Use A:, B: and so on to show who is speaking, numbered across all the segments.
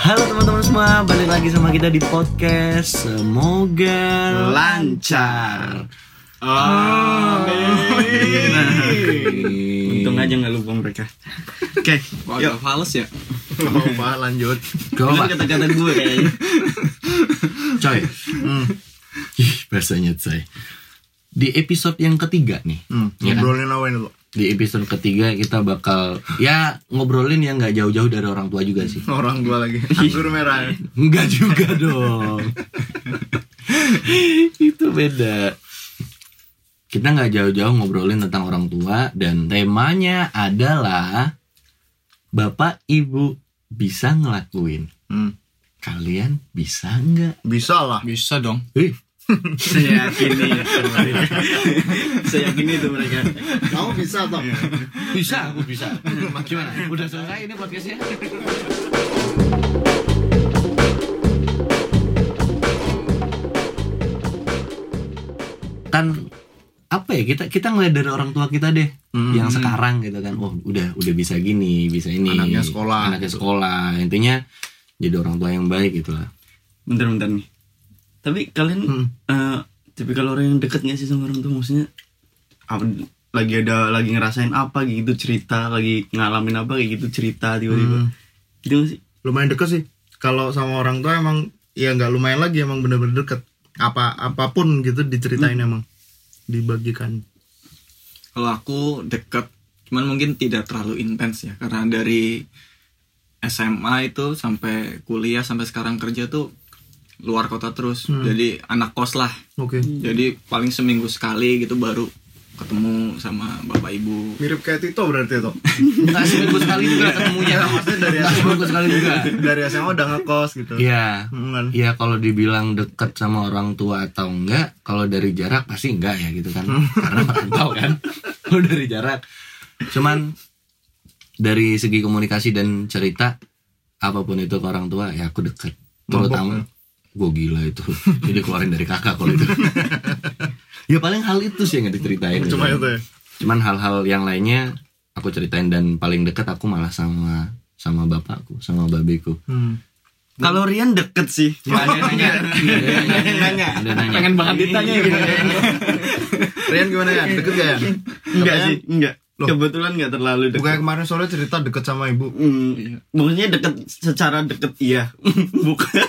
A: Halo teman-teman semua, balik lagi sama kita di podcast Semoga
B: lancar.
C: Untung aja nggak lupa mereka.
B: Oke,
C: Wah,
B: yuk.
C: agak fals ya.
B: Coba lanjut.
C: Kan
A: Coba,
C: kata-kata gue
B: ya,
C: kayaknya.
A: coy. Hmm. Ih, bahasanya coy. Di episode yang ketiga nih,
B: Hmm,
C: Iya.
A: ya kan?
B: ngobrolin apa ini lo?
A: di episode ketiga kita bakal ya ngobrolin yang nggak jauh-jauh dari orang tua juga sih.
B: Orang gua lagi. Anggur merah. ya?
A: Enggak juga dong. Itu beda. Kita nggak jauh-jauh ngobrolin tentang orang tua dan temanya adalah Bapak Ibu bisa ngelakuin.
B: Hmm,
A: Kalian bisa nggak?
B: bisa lah.
D: Bisa dong.
A: Ih,
C: Saya yakin itu mereka. Saya yakin itu mereka.
B: Kamu bisa toh.
A: bisa, aku bisa. Gimana? Udah selesai ini podcastnya? kan apa ya kita kita ngeliat dari orang tua kita deh
B: Hmm.
A: yang sekarang gitu kan oh udah udah bisa gini bisa ini
B: Anaknya sekolah.
A: anaknya sekolah intinya jadi orang tua yang baik gitu lah
C: Bentar-bentar nih. Tapi kalian eh, tipikal orang yang deket gak sih sama orang tua maksudnya? apa- lagi ada lagi ngerasain apa gitu cerita, lagi ngalamin apa kayak gitu cerita tiba-tiba. Gitu nggak sih?
B: Lumayan deket sih. Kalau sama orang tua emang ya nggak lumayan lagi emang bener-bener deket. Apa apapun gitu diceritain emang dibagikan.
D: Kalau aku deket, cuman mungkin tidak terlalu intens ya karena dari SMA itu sampai kuliah sampai sekarang kerja tuh luar kota terus. Jadi anak kos lah.
B: Oke.
D: Jadi paling seminggu sekali gitu baru ketemu sama bapak ibu.
B: Mirip kayak Tito berarti toh.
A: nggak seminggu sekali juga ketemunya maksudnya dari seminggu sekali juga
B: Dari SMA udah ngekos gitu.
A: Iya,
B: Hmm, kan?
A: Iya kalau dibilang deket sama orang tua atau enggak, kalau dari jarak pasti enggak ya gitu kan, karena merantau kan, kalau dari jarak. Cuman dari segi komunikasi dan cerita apapun itu ke orang tua ya aku deket. Terutama gue gila itu, jadi keluarin dari kakak kalau itu. ya paling hal itu sih yang diceritain. gitu
B: Cuma
A: kan.
B: itu ya.
A: Cuman hal-hal yang lainnya aku ceritain dan paling deket aku malah sama sama bapakku, sama babeku.
B: Hmm.
C: Kalau Rian deket sih.
B: Ya.
A: ada yang nanya, ada yang nanya, ada yang nanya.
C: banget ditanya gitu.
B: Rian gimana ya? Deket gak ya?
C: Enggak
B: Apaan?
C: sih, enggak.
B: Loh.
C: Kebetulan enggak terlalu deket.
B: Bukannya kemarin sore cerita deket sama ibu
D: Iya.
C: Hmm, maksudnya deket secara deket iya bukan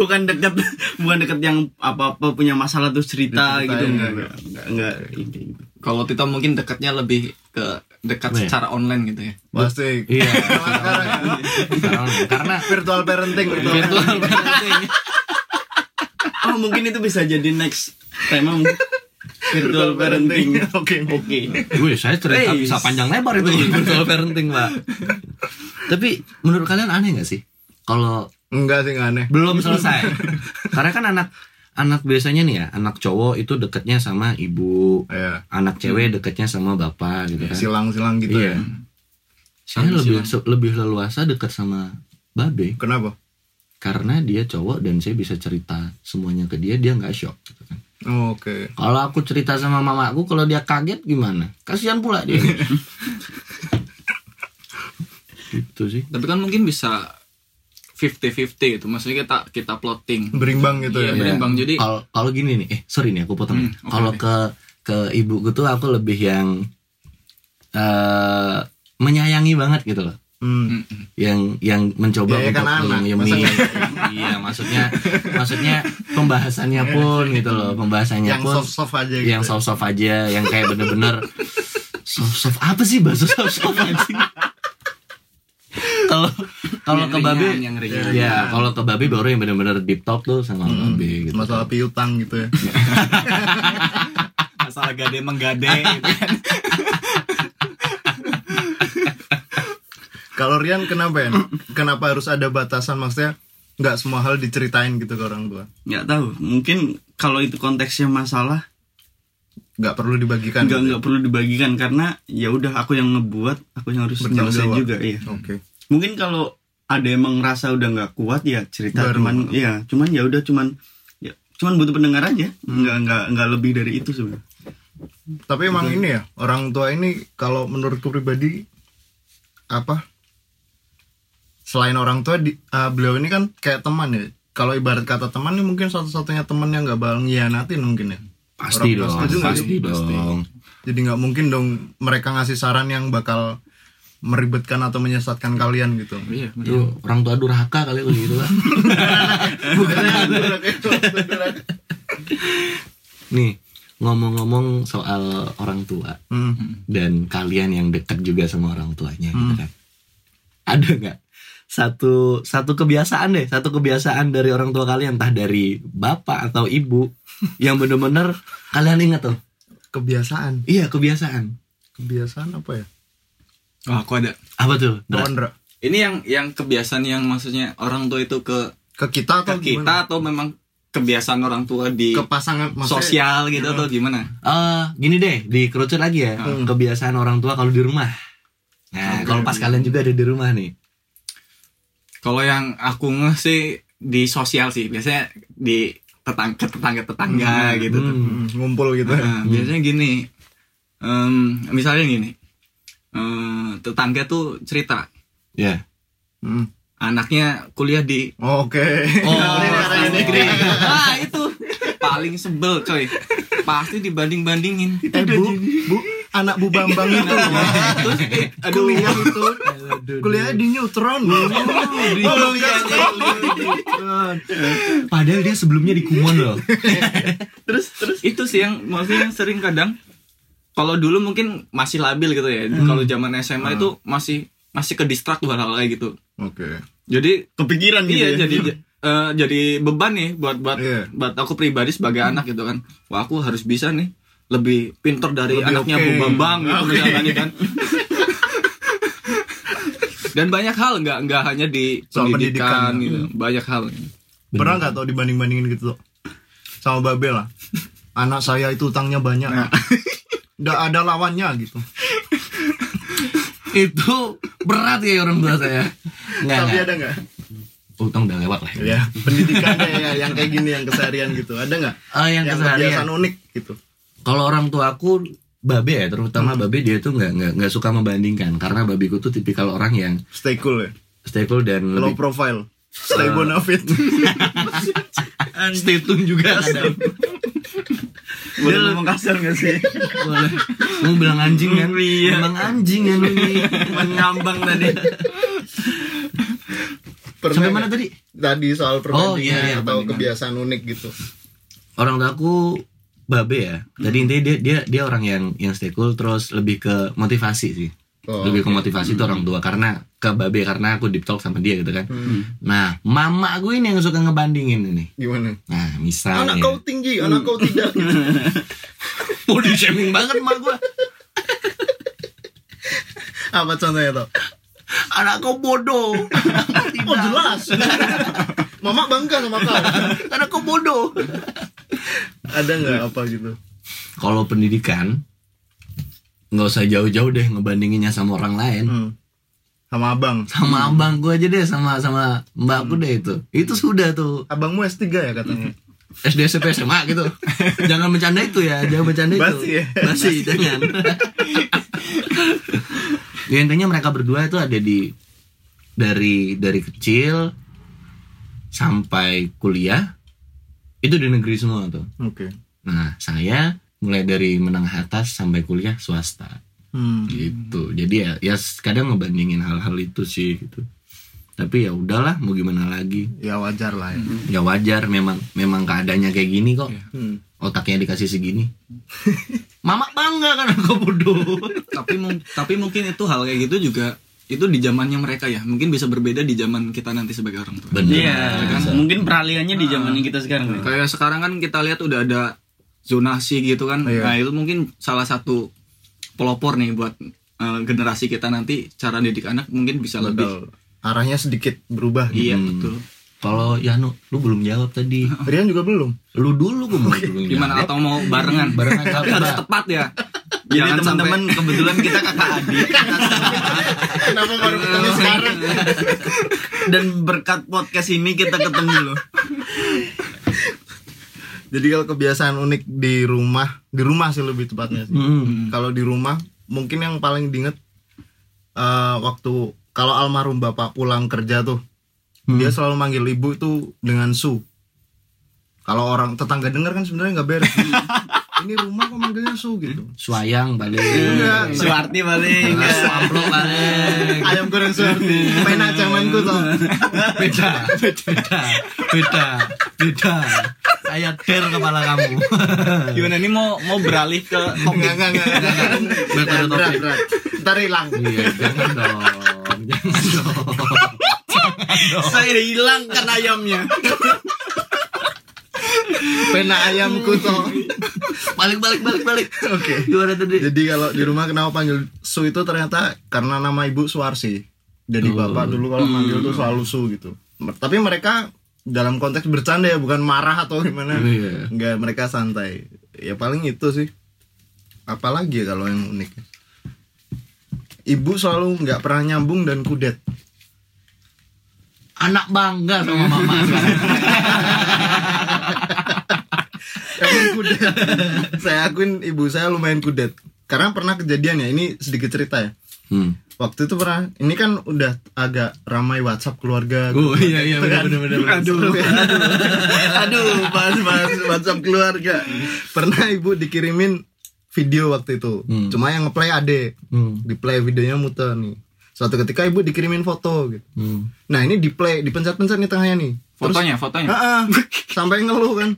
C: bukan deket bukan deket yang apa apa punya masalah terus cerita
B: Diceritain,
C: gitu enggak
B: enggak.
C: enggak enggak, enggak,
D: Iya.
C: enggak, enggak.
D: Kalau Tito mungkin dekatnya lebih ke dekat
A: Iya.
D: secara online gitu ya.
B: pasti
A: Iya.
B: sekarang
A: Karena- Nah, Karena
B: virtual parenting virtual
A: virtual parenting.
C: oh mungkin itu bisa jadi next tema mungkin. virtual parenting oke
B: oke
A: Wih, saya cerita
C: Wih.
A: bisa panjang lebar itu virtual parenting, Pak. Tapi menurut kalian aneh nggak sih? Kalau
B: enggak sih enggak aneh
A: belum selesai. Karena kan anak anak biasanya nih ya, anak cowok itu deketnya sama ibu,
B: ya
A: anak cewek deketnya sama bapak gitu kan.
B: silang-silang gitu
A: Iya.
B: ya
A: Saya
D: Sama
A: lebih lebih leluasa dekat sama babe
B: kenapa
A: karena dia cowok dan saya bisa cerita semuanya ke dia, dia nggak shock gitu kan.
B: Oh, oke
A: Kalau aku cerita sama mamaku, kalau dia kaget gimana? Kasihan pula dia. gitu sih.
D: Tapi kan mungkin bisa 50-50 itu maksudnya kita kita plotting.
B: berimbang gitu
D: Iya,
B: ya
D: bener, Bang. Jadi-
A: kalau kalau gini nih, eh sorry nih aku potong.
D: Hmm, oke,
A: kalau
D: oke.
A: ke ke ibuku tuh aku lebih yang eh menyayangi banget gitu loh.
B: hmm.
D: Mm-mm.
A: Yang yang mencoba
B: Ya, ya kan anak,
A: mengayomi. Iya, maksudnya maksudnya pembahasannya pun gitu loh, pembahasannya
B: yang
A: pun
B: soft-soft aja gitu
A: yang soft soft aja yang kayak bener-bener soft soft apa sih bahasa soft soft anjing kalau kalau
D: Yang
A: ke
D: ringan,
A: babe
D: yang ringan.
A: ya kalau ke babe baru yang bener-bener deep talk tuh sama
B: Hmm,
A: babe gitu
B: masalah piutang gitu ya
D: Masalah gade menggade gitu.
B: kalau Rian kenapa ya kenapa harus ada batasan maksudnya nggak semua hal diceritain gitu ke orang tua
C: nggak tahu mungkin kalau itu konteksnya masalah
B: nggak perlu dibagikan
C: nggak
B: gitu.
C: nggak perlu dibagikan karena ya udah aku yang ngebuat aku yang harus
B: Bertanggung
C: nyelesain
B: jawab.
C: juga iya
B: oke
C: mungkin kalau ada emang ngerasa udah nggak kuat ya cerita
B: Baru.
C: cuman ya cuman ya udah cuman ya, cuman butuh pendengar aja nggak nggak nggak lebih dari itu sebenarnya
B: Tapi emang
D: Gitu.
B: ini ya orang tua ini kalau menurutku pribadi apa selain orang tua di- eh, beliau ini kan kayak teman ya kalau ibarat kata teman nih mungkin satu-satunya teman yang nggak bakal ngianatin mungkin ya
A: pasti
B: Orang
A: dong
B: tua setuju nggak
A: pasti
B: sih?
A: dong
B: jadi nggak mungkin dong mereka ngasih saran yang bakal meribetkan atau menyesatkan kalian gitu
D: iya
A: itu orang tua durhaka kali kalau gitu kan nih ngomong-ngomong soal orang tua
B: Hmm.
A: dan kalian yang dekat juga sama orang tuanya gitu
B: Hmm.
A: kan ada nggak satu satu kebiasaan deh satu kebiasaan dari orang tua kalian entah dari bapak atau ibu yang bener-bener kalian ingat tuh
B: kebiasaan
A: iya kebiasaan
B: kebiasaan apa ya
D: oh, aku ada
A: apa tuh Dra?
D: Nah.
B: Kawan, Dra.
D: ini yang yang kebiasaan yang maksudnya orang tua itu ke
B: ke kita atau gimana?
D: ke kita atau memang kebiasaan orang tua di
B: ke pasangan maksudnya-
D: sosial gitu atau gimana
A: Eh, gini deh dikerucut lagi ya
B: Hmm.
A: kebiasaan orang tua kalau di rumah nah kalau pas kalian juga ada di rumah nih
D: Kalau yang aku ngeh sih di sosial sih, biasanya di tetang ke tetangga tetangga gitu. tuh.
A: Hmm.
B: Hmm, ngumpul gitu ya.
D: Nah, biasanya gini, em, misalnya gini, eh, tetangga tuh cerita
A: ya
B: Hmm.
D: anaknya kuliah di
B: oke
A: Oh,
D: luar negeri. Wah itu paling sebel coy, pasti dibanding bandingin.
B: eh bu bu anak bu bambang itu
D: Terus, eh, aduh,
B: kuliah itu kuliah di neutron
A: Oh,
B: Oh,
D: aduh, iya, iya.
A: Padahal dia sebelumnya di Kumon loh.
D: terus terus itu sih yang maksudnya yang sering kadang kalau dulu mungkin masih labil gitu ya
B: Hmm.
D: kalau zaman SMA itu masih masih ke distract hal-hal kayak gitu
B: oke
D: jadi
C: kepikiran gitu
D: iya
C: ya.
D: jadi eh, jadi beban nih buat buat
B: Iya.
D: buat aku pribadi sebagai anak gitu kan wah aku harus bisa nih lebih pinter dari
B: Lebih
D: anaknya
B: oke. Ah,
D: Bu Bambang gitu
B: Oke.
D: misalkan nih kan dan banyak hal nggak nggak hanya di
B: Soal pendidikan.
D: pendidikan, gitu banyak hal
B: pernah nggak tau dibanding bandingin gitu Tok? sama babel lah anak saya itu utangnya banyak
A: Nah.
B: nggak ada lawannya gitu
A: Itu berat ya orang tua saya. Nggak, Ya,
B: tapi
A: nggak.
B: ada nggak
A: Untung udah lewat lah.
B: ya pendidikan kayak yang kayak gini yang keseharian gitu ada nggak
A: Oh, yang keseharian.
B: kebiasaan unik gitu
A: Kalau orang tua aku babe ya, terutama
B: Hmm.
A: babe dia tuh nggak nggak nggak suka membandingkan karena babiku tuh tipikal orang yang
B: stay cool ya
A: stable dan
B: low
A: lebih Eh.
B: profile stay bonafit
A: stay tune juga kadang.
C: Boleh ngomong kasar gak sih?
A: Boleh. Mau bilang anjing kan?
C: Iya.
A: Bilang anjing kan
B: Iya.
A: ini.
C: Mengambang tadi.
B: pernah
A: Sampai mana
B: nggak?
A: tadi?
B: tadi soal perbandingan
A: Oh, iya, iya,
B: atau
A: perbandingan.
B: kebiasaan unik gitu
A: orang tua aku babe ya tadi
B: Hmm.
A: intinya dia dia dia orang yang yang stay cool terus lebih ke motivasi sih
B: Oh, Hmm.
A: lebih ke motivasi tuh orang tua karena ke babe karena aku deep talk sama dia gitu kan
B: Hmm.
A: nah mama aku ini yang suka ngebandingin ini
B: gimana
A: nah misalnya
B: anak kau tinggi anak kau tidak
A: body shaming banget sama gue
B: apa contohnya tuh
A: anak kau bodoh
B: oh jelas mama bangga sama kau
A: anak kau bodoh
B: ada nggak apa gitu
A: kalau pendidikan nggak usah jauh-jauh deh ngebandinginnya sama orang lain
B: Hmm. sama abang
A: sama abang gue aja deh sama sama mbakku deh itu itu sudah tuh
B: abangmu S3 ya katanya
A: Hmm. SD SMP SMA gitu jangan bercanda itu ya jangan bercanda itu
B: Basi ya?
A: Basi, jangan ya, intinya mereka berdua itu ada di dari dari kecil sampai kuliah itu di negeri semua tuh
B: oke
A: nah saya mulai dari menengah atas sampai kuliah swasta
B: hmm.
A: gitu jadi ya ya kadang ngebandingin hal-hal itu sih gitu tapi ya udahlah mau gimana lagi
B: ya wajar lah
A: ya
B: ya
A: wajar memang memang keadaannya kayak gini kok
B: Hmm.
A: otaknya dikasih segini mama bangga karena kau bodoh
D: tapi mung- tapi mungkin itu hal kayak gitu juga itu di zamannya mereka ya mungkin bisa berbeda di zaman kita nanti sebagai orang tua
A: bener
C: Iya, kan? mungkin peralihannya di zaman kita sekarang. kan?
D: kayak sekarang kan kita lihat udah ada zonasi gitu kan
B: Iya.
D: nah itu mungkin salah satu pelopor nih buat eh, generasi kita nanti cara didik anak mungkin bisa lebih
B: Betul. arahnya sedikit berubah gitu.
D: iya betul
A: hmm. kalau Yano lu belum jawab tadi
B: Rian juga belum
A: lu dulu gue mau
C: Iya.
A: dulu
D: gimana
A: jawab.
D: atau mau barengan
A: Barengan,
D: tapi
A: Kak.
D: harus tepat ya
C: Jadi teman-teman kebetulan kita kakak adik
B: kenapa baru ketemu sekarang
C: dan berkat podcast ini kita ketemu loh.
B: jadi kalau kebiasaan unik di rumah di rumah sih lebih tepatnya sih.
A: Hmm.
B: kalau di rumah mungkin yang paling diinget eh, waktu kalau almarhum bapak pulang kerja tuh dia selalu manggil ibu itu dengan su kalau orang tetangga dengar kan sebenarnya nggak beres ini rumah kok manggilnya su gitu
A: Suayang balik.
B: Iya.
C: Suwarti paling
A: Samplok balik.
B: ayam goreng suarti pena zamanku tuh
A: Beda. Beda. Beda. Beda. Saya der kepala kamu.
D: Gimana ini mau mau beralih ke
B: nggak nggak nggak nggak.
A: Berat,
B: berat berat ntar hilang
A: Iya, jangan dong. Jangan dong.
C: Saya hilangkan ayamnya.
B: pena ayamku tuh
A: Balik balik balik balik.
B: oke
A: Gimana tadi?
B: Jadi kalau di rumah kenapa panggil Su itu ternyata karena nama ibu Suarsi. Jadi
A: Oh.
B: bapak dulu kalau
A: Hmm.
B: manggil tuh selalu Su gitu. Mer- Tapi mereka dalam konteks bercanda ya, bukan marah atau gimana.
A: Iya.
B: Enggak, mereka santai. Ya paling itu sih. Apalagi ya kalau yang unik. Ibu selalu nggak pernah nyambung dan kudet.
A: Anak bangga sama mama.
B: Emang kudet. saya akuin ibu saya lumayan kudet. Karena pernah kejadian ya, ini sedikit cerita ya.
A: Hmm.
B: Waktu itu pernah, ini kan udah agak ramai WhatsApp keluarga. gitu. kan?
A: Oh iya iya benar benar benar.
B: aduh aduh aduh bahas bahas WhatsApp keluarga pernah ibu dikirimin video waktu itu
A: Hmm.
B: cuma yang ngeplay ade
A: Hmm.
B: di play videonya muter nih suatu ketika ibu dikirimin foto gitu
A: Hmm.
B: nah ini di play dipencet-pencet nih tengahnya nih
D: fotonya, fotonya.
B: Ah, ah. sampai ngeluh kan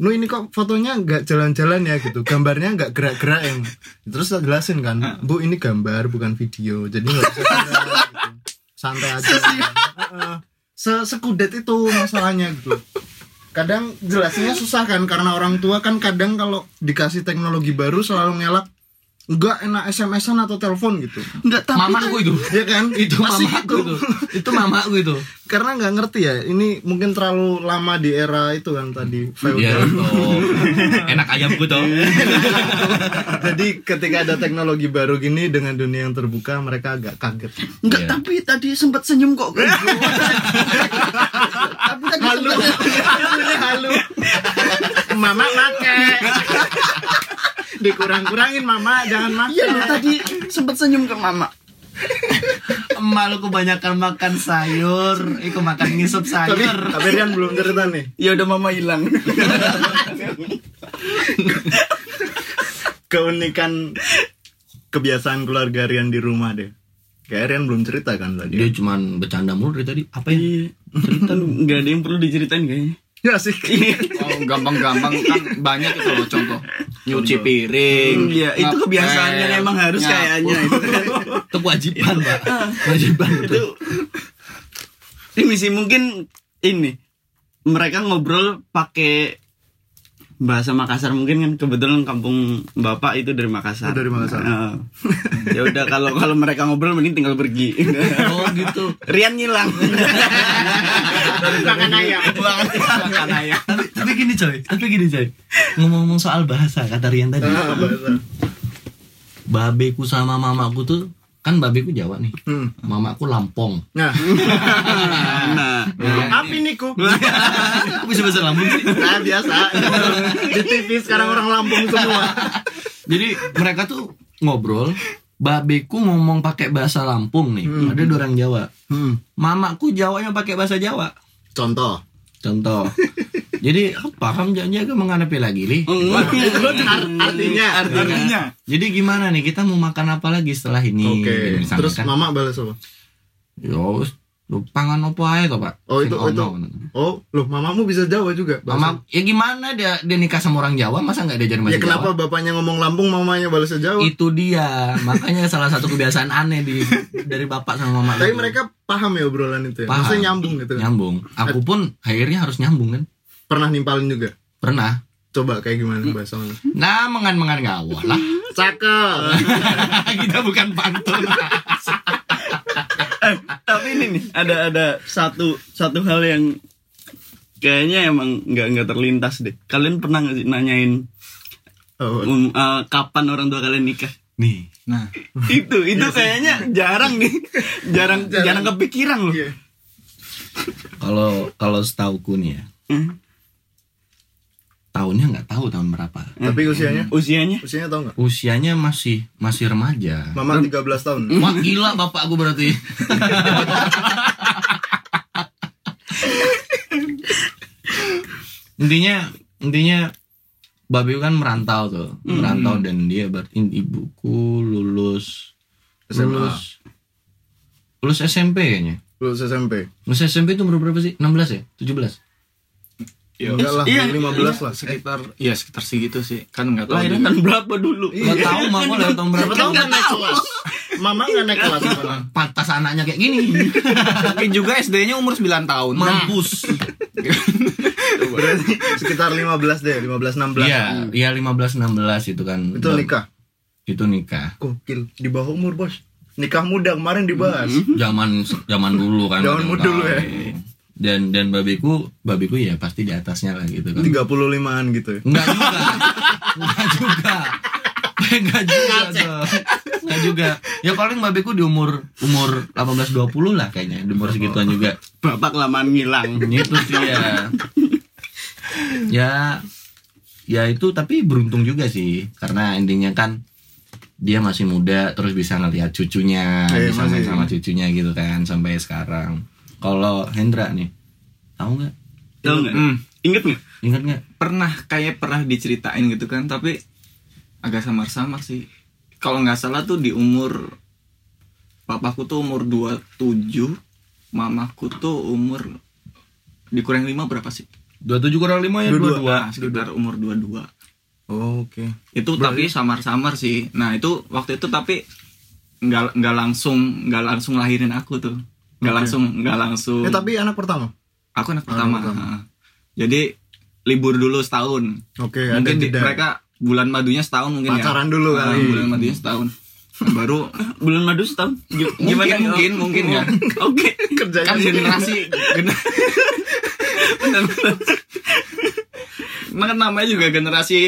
B: Nu ini kok fotonya nggak jalan-jalan ya gitu Gambarnya nggak gerak-gerak yang Terus saya jelasin kan Bu ini gambar bukan video Jadi nggak bisa gerak, gitu. Santai aja Ah, ah. Se- Sekudet itu masalahnya gitu Kadang jelasnya susah kan Karena orang tua kan kadang kalau dikasih teknologi baru Selalu ngelak Nggak enak SMS-an atau telepon gitu
C: Enggak tahu.
A: Mamaku itu.
B: Iya kan
A: Itu
B: Masih
A: mamaku itu. Itu mamaku itu.
B: karena nggak ngerti ya ini mungkin terlalu lama di era itu kan tadi
A: Iya
B: feodal
A: betul. Enak ayamku tuh.
B: jadi ketika ada teknologi baru gini dengan dunia yang terbuka mereka agak kaget
A: Iya.
C: Enggak, tapi tadi sempat senyum kok.
B: tapi tadi halu halu mama make dikurang-kurangin mama jangan
C: Iya
B: makan
C: loh, tadi sempat senyum ke mama.
A: Emak lu kebanyakan makan sayur, iku makan ngisep
B: tapi
A: sayur.
B: tapi Rian belum cerita nih
C: Ya udah mama hilang.
B: keunikan kebiasaan keluarga Rian di rumah deh kayak Rian belum cerita kan
A: Dia
B: tadi
A: cuman bercanda mulu dari tadi. Apa ya?
C: Iya. Cerita lu nggak ada yang perlu diceritain kayaknya.
B: ya sih
D: Oh, gampang-gampang kan banyak itu loh contoh. Nyuci piring.
C: Iya, itu
D: ngepel,
C: kebiasaan yang emang harus
D: nyapu.
C: kayaknya itu.
A: Itu kewajiban, Pak.
D: Ya,
A: Kewajiban
C: itu
A: itu.
C: ini sih mungkin ini mereka ngobrol pakai bahasa Makassar mungkin kan kebetulan kampung bapak itu dari Makassar.
B: Oh, dari Makassar.
C: Eh, ya udah kalau kalau mereka ngobrol mending tinggal pergi.
A: Oh gitu.
C: Rian ngilang.
B: makan ayam
C: Makan ayam.
A: Tapi, tapi gini coy, tapi gini coy. Ngomong-ngomong soal bahasa kata Rian tadi.
B: Ah, betul.
A: Babeku sama mamaku tuh kan babeku Jawa nih.
B: Hmm.
A: Mamaku Lampong.
B: Nah,
C: Nah,
B: api niku.
A: Kok bisa bahasa Lampung sih?
B: Nah, biasa. Di TV sekarang orang Lampung semua.
A: Jadi mereka tuh ngobrol, babeku ngomong pakai bahasa Lampung nih. Ada dua orang Jawa. Mamaku Jawanya pakai bahasa Jawa.
B: Hmm. Contoh.
A: Contoh. Jadi apa kamu jaga menghadapi lagi li?
B: Ar- artinya.
D: Artinya
A: Jadi gimana nih kita mau makan apa lagi setelah ini? Gitu,
B: Oke.
A: misalnya
B: Terus
A: kan.
B: Mama balas apa?
A: Yo, wis, lu pangan apa aja toh pak?
B: Oh, itu-
A: Sing
B: itu.
A: ono.
B: Oh, loh mamamu bisa Jawa juga. bahasa-
A: Mama, ya gimana dia dia nikah sama orang Jawa masa nggak diajarin bahasa
B: Ya
A: Jawa?
B: kenapa bapaknya ngomong Lampung, mamanya balas Jawa?
A: Itu dia, makanya salah satu kebiasaan aneh di dari bapak sama mama.
B: Tapi
A: itu.
B: mereka paham ya obrolan itu ya.
A: Paham.
B: Maksudnya nyambung gitu. kan?
A: nyambung. Aku pun akhirnya harus nyambung kan?
B: Pernah nimpalin juga.
A: Pernah.
B: Coba kayak gimana bahasanya?
A: Nah, mengan-mengan ngawah lah.
B: Cakep.
A: Kita bukan pantun.
C: Eh, tapi ini nih ada ada satu satu hal yang kayaknya emang nggak nggak terlintas deh. Kalian pernah nggak sih nanyain
B: Oh,
C: um, eh, kapan orang tua kalian nikah?
A: nih,
D: Nah,
C: itu itu kayaknya jarang nih jarang jarang, kepikiran loh
B: Iya.
A: kalau kalau setauku nih ya,
C: Hmm.
A: tahunnya nggak tahu tahun berapa
B: Tapi usianya?
C: Usianya?
B: Usianya tau nggak?
A: usianya masih masih remaja
B: Mama 13 tahun.
A: wah gila bapak aku berarti intinya intinya Babi kan merantau tuh merantau dan dia berarti ibuku lulus
B: SMA.
A: lulus lulus SMP kayaknya
B: Lulus SMP.
A: lulus SMP itu umur berapa sih 16 ya 17
D: Ya,
B: Enggak lah,
C: Iya,
B: 15 lah.
D: sekitar ya sekitar segitu sih kan nggak tahu
C: Lahiran
D: juga.
C: tahun berapa dulu?
A: Gak tahu mama lewat tahun berapa
B: Tahu
A: tahun
B: nggak naik kelas? Mama nggak naik kelas. Mama.
A: pantas anaknya kayak gini
C: kan
D: tapi juga SD-nya umur 9 tahun
A: mampus
B: Berarti sekitar 15 deh, 15 16.
A: iya iya 15 16 itu kan
B: Itu nikah.
A: itu nikah
B: Gokil, di bawah umur, Bos. Nikah muda kemarin dibahas.
A: Hmm. zaman zaman dulu kan
B: Zaman
A: orang
B: dulu
A: tahu.
B: ya.
A: dan dan babiku babiku ya pasti di atasnya lah gitu kan
B: 35-an gitu ya.
A: Enggak juga. Enggak juga. Eh, Enggak juga. dong. Enggak juga. Ya paling babeku di umur umur 18 20 lah kayaknya. Di umur segituan juga.
C: Bapak kelamaan ngilang.
A: Itu sih ya. Ya ya itu tapi beruntung juga sih karena endingnya kan dia masih muda terus bisa ngelihat cucunya,
B: Eh,
A: bisa
B: masih.
A: main sama cucunya gitu kan sampai sekarang. Kalau Hendra nih, tahu nggak?
C: Tahu nggak?
D: Hmm.
C: Ingat nggak?
A: Ingat nggak?
D: pernah kayak pernah diceritain gitu kan tapi agak samar-samar sih kalau nggak salah tuh di umur papaku tuh umur 27 mamaku tuh umur dikurang 5 berapa sih
A: 27 kurang 5 ya 22.
D: Nah, sekitar umur 22
B: Oke.
D: itu tapi samar-samar sih nah itu waktu itu tapi nggak nggak langsung nggak langsung lahirin aku tuh nggak langsung nggak langsung
B: Eh tapi anak pertama.
D: aku anak pertama,
B: pertama.
D: Nah, jadi libur dulu setahun
B: Oke, ada
D: mungkin di-
B: jeda.
D: mereka bulan madunya setahun mungkin
B: Iya, Pacaran
D: ya.
B: dulu
D: Ah,
B: kali.
D: bulan madunya setahun baru
C: Bulan madu setahun. Gi-
D: gimana mungkin mungkin ya
C: Oke.
D: kan
B: kerjanya
D: generasi gener- Bener-bener. Nah, kan namanya juga generasi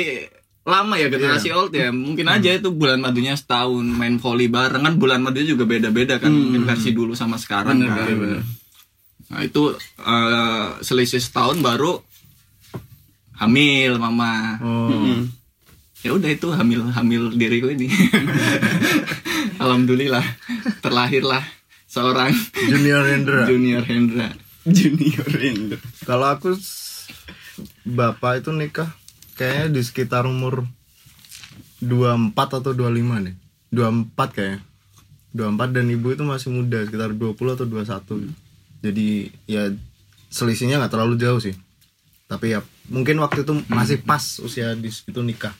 D: lama ya generasi
B: Iya.
D: old ya mungkin
B: Hmm.
D: aja itu bulan madunya setahun main volley bareng kan bulan madunya juga beda-beda kan
B: Hmm.
D: mungkin versi dulu sama sekarang
C: Bener,
D: kan.
C: bener, bener.
D: nah itu eh, selisih setahun baru hamil mama
B: Oh.
C: Mm.
D: ya udah itu hamil hamil diriku ini alhamdulillah terlahirlah seorang
B: Junior Hendra.
D: junior Hendra
C: Junior Ender.
B: Kalau aku s- bapak itu nikah kayaknya di sekitar umur 24 atau 25 deh. 24 kayaknya. 24 dan ibu itu masih muda sekitar 20 atau 21. Jadi ya selisihnya nggak terlalu jauh sih. Tapi ya mungkin waktu itu masih pas usia di situ nikah.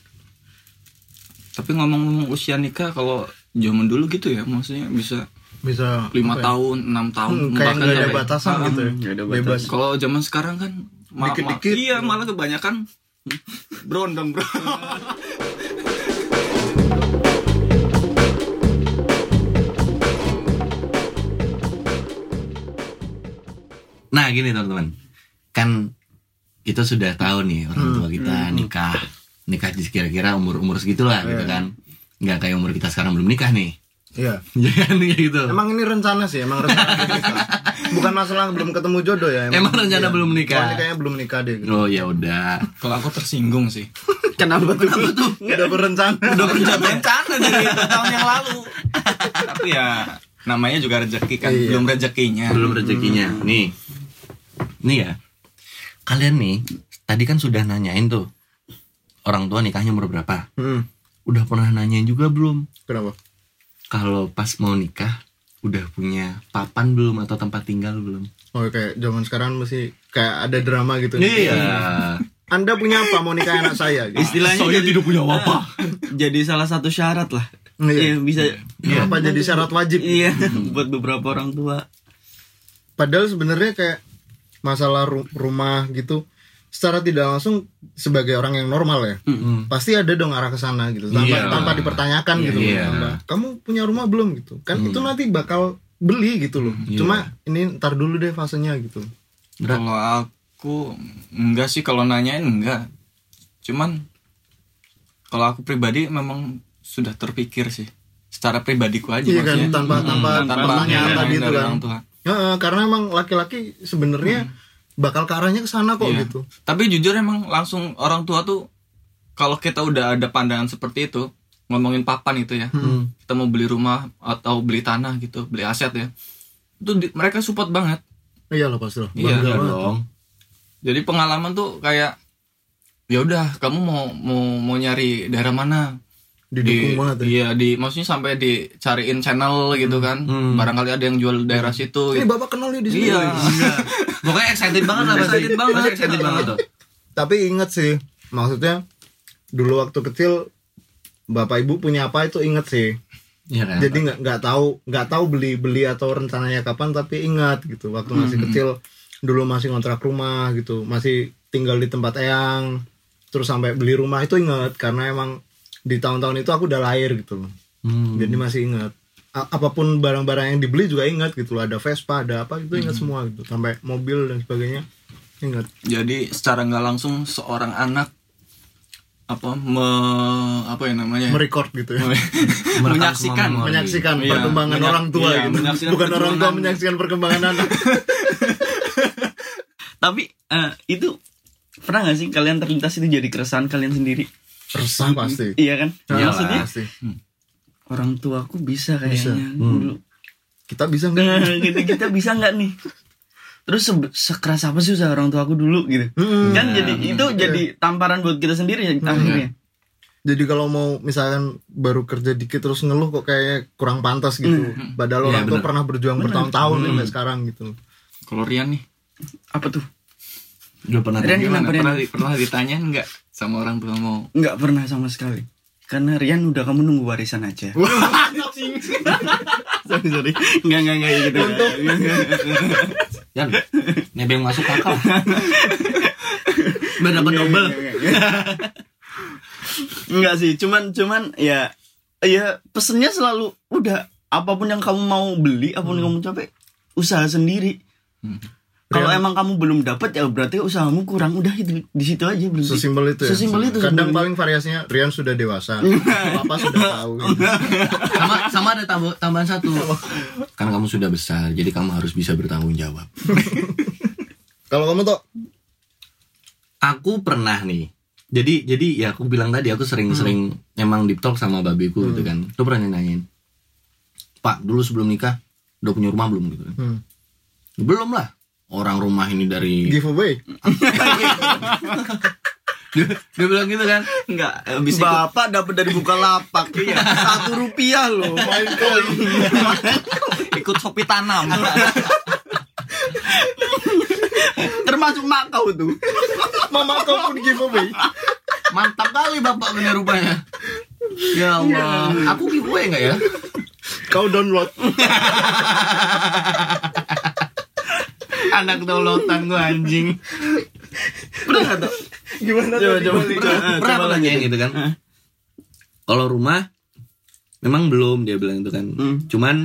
D: tapi ngomong-ngomong usia nikah kalau zaman dulu gitu ya maksudnya bisa
B: Bisa
D: lima
B: apa ya?
D: tahun enam tahun
B: Hmm, kayak nggak ada
D: sampai-
B: batasan
D: Ah,
B: gitu ya.
C: nggak ada
B: Bebas.
D: kalau zaman sekarang kan ma- ma-
B: Dikit-dikit.
D: iya malah kebanyakan brondong bro
A: Nah gini teman-teman Kan kita sudah tahu nih orang tua kita
B: Hmm,
A: nikah Nikah di kira-kira umur-umur segitulah gitu kan Nggak kayak umur kita sekarang belum nikah nih
B: Iya.
A: Ya kan kayak gitu
B: Emang ini rencana sih, emang rencana nikah. Bukan masalah belum ketemu jodoh ya.
A: Emang rencana belum nikah?
B: Pokoknya kayaknya belum nikah deh. Gitu.
A: Oh ya udah
D: kalau aku tersinggung sih
C: Kenapa tuh?
B: Udah berencana.
D: udah ya? berjalan karena dari tahun yang lalu tapi ya namanya juga rezeki kan
B: Iya.
D: belum rezekinya
A: Belum rezekinya Nih Nih ya Kalian nih Tadi kan sudah nanyain tuh Orang tua nikahnya umur berapa
B: Hmm.
A: Udah pernah nanyain juga belum
B: Kenapa?
A: Kalau pas mau nikah Udah punya papan belum atau tempat tinggal belum
B: Oh kayak zaman sekarang mesti kayak ada drama gitu.
A: Iya
B: Anda punya apa mau nikah anak saya? Gitu.
C: Istilahnya jadi,
A: tidak punya apa
C: jadi salah satu syarat lah.
B: Iya.
C: Iya bisa.
A: Iya.
B: Apa jadi syarat wajib?
C: Iya buat beberapa orang tua.
B: Padahal sebenarnya kayak masalah ru- rumah gitu secara tidak langsung sebagai orang yang normal ya.
D: Mm-hmm.
B: Pasti ada dong arah ke sana gitu tanpa
A: Iya.
B: tanpa dipertanyakan gitu loh.
A: Iya.
B: Tanpa, Kamu punya rumah belum gitu. Kan
D: Mm.
B: itu nanti bakal beli gitu loh.
D: Mm-hmm. Iya.
B: Cuma ini ntar dulu deh fasenya gitu.
D: Kalau aku enggak sih kalau nanyain enggak. Cuman kalau aku pribadi memang sudah terpikir sih. Secara pribadiku aja
B: Iya kan
D: maksudnya. Hmm,
B: tanpa tanpa pertanyaan
D: tanpa pertanyaan
B: tadi itu
D: dari
B: kan.
D: orang tua.
B: Heeh, karena emang laki-laki sebenarnya bakal ke arahnya ke sana kok
D: Mm. Iya.
B: gitu.
D: Tapi jujur emang langsung orang tua tuh kalau kita udah ada pandangan seperti itu ngomongin papan itu ya,
B: Hmm.
D: kita mau beli rumah atau beli tanah gitu, beli aset ya, itu di- mereka support banget.
B: Iya lah pasti lah. Bangga
D: Iya,
A: Iya
B: banget.
A: dong.
D: Jadi pengalaman tuh kayak ya udah kamu mau mau mau nyari daerah mana?
B: Didukung
D: Di-
B: banget ya.
D: Iya di maksudnya sampai dicariin channel gitu kan,
A: Hmm.
D: barangkali ada yang jual daerah situ.
B: Ini
D: gitu.
B: bapak kenal nih di sini.
D: Iya.
A: Pokoknya excited banget lah pasti.
D: Excited banget.
A: Pasti excited banget tuh.
B: Tapi inget sih, maksudnya dulu waktu kecil bapak ibu punya apa itu inget sih.
A: Iya kan.
B: Jadi nggak nggak tahu nggak tahu beli beli atau rencananya kapan tapi ingat gitu waktu masih kecil dulu masih ngontrak rumah gitu masih tinggal di tempat eyang terus sampai beli rumah itu ingat karena emang di tahun-tahun itu aku udah lahir gitu loh
A: Hmm.
B: jadi masih ingat A- apapun barang-barang yang dibeli juga ingat gitu loh ada Vespa ada apa gitu ingat semua gitu sampai mobil dan sebagainya ingat
D: jadi secara nggak langsung seorang anak apa me apa ya namanya ya?
B: merecord gitu ya
A: Merekam
D: menyaksikan
A: semua memori.
B: menyaksikan
D: Iya,
B: perkembangan
D: menyak-
B: orang tua
D: iya,
B: gitu
D: menyaksikan
B: bukan orang tua
D: perjuangan.
B: menyaksikan perkembangan anak
C: Tapi eh, itu pernah nggak sih kalian terlintas itu jadi keresahan kalian sendiri?
B: resah pasti
C: Iya kan?
A: Iyalah.
C: Maksudnya
B: pasti
C: orang tuaku bisa
B: Bisa.
C: kayaknya dulu.
B: kita bisa nggak
C: Nah, gitu kita bisa nggak nih? Terus se- sekeras apa sih usaha orang tuaku dulu gitu?
B: Mm-mm.
C: Kan jadi itu jadi tamparan buat kita sendiri ya akhirnya.
B: Jadi kalau mau misalkan baru kerja dikit terus ngeluh kok kayak kurang pantas gitu. Padahal
A: Iya,
B: orang tuh
A: bener.
B: pernah berjuang bertahun-tahun sampai sekarang gitu.
D: kalau Rian nih
C: Apa tuh?
A: Udah pernah
C: Rian
A: tanya?
D: gimana
C: kenapa Rian?
D: pernah di- pernah ditanya nggak sama orang tua mau
C: Nggak pernah sama sekali. Karena Rian udah kamu nunggu warisan aja. sorry sorry. Nggak nggak nggak gitu. Nggak, nggak, nggak.
A: Yan, nebeng masuk akal. Biar dapat double.
C: Enggak sih, cuman cuman ya ya pesennya selalu udah apapun yang kamu mau beli, apapun yang kamu capek, usaha sendiri. Hmm. Kalau
B: Real-
C: emang kamu belum dapat ya berarti usahamu kurang. Udah itu di situ aja berhenti.
B: Sesimpel itu ya.
C: Sesimpel itu.
B: Kadang
C: sebenarnya.
B: paling variasinya Rian sudah dewasa. Papa sudah tahu. gitu.
A: Sama sama ada tambo- tambahan satu. Kan kamu sudah besar, jadi kamu harus bisa bertanggung jawab.
B: Kalau kamu tuh
A: Aku pernah nih. Jadi jadi ya aku bilang tadi aku sering-sering emang deep talk sama babiku gitu kan. Tuh pernah nanyain. Pak, dulu sebelum nikah udah punya rumah belum gitu kan?
B: hmm,
A: Belum lah. Orang rumah ini dari
B: giveaway.
A: dia, dia bilang gitu kan.
D: nggak
C: Eh, Bapak dapat dari Bukalapak Satu rupiah loh
B: Main coin.
D: ikut sopi tanam
C: Termasuk makau tuh
B: Mama kau pun giveaway.
A: Mantap kali bapak punya rupanya. Ya Allah, aku giveaway nggak ya?
B: Kau download.
A: Anak dolotan gua anjing.
C: Udah gak tuh?
B: Gimana
C: Coba
B: tadi
C: coba
B: balik?
C: Coba, eh,
A: pernah
C: coba
A: pernah
C: lagi
A: nanyain gitu kan
C: Hah?
A: kalau rumah memang belum dia bilang itu kan
C: Hmm.
A: cuman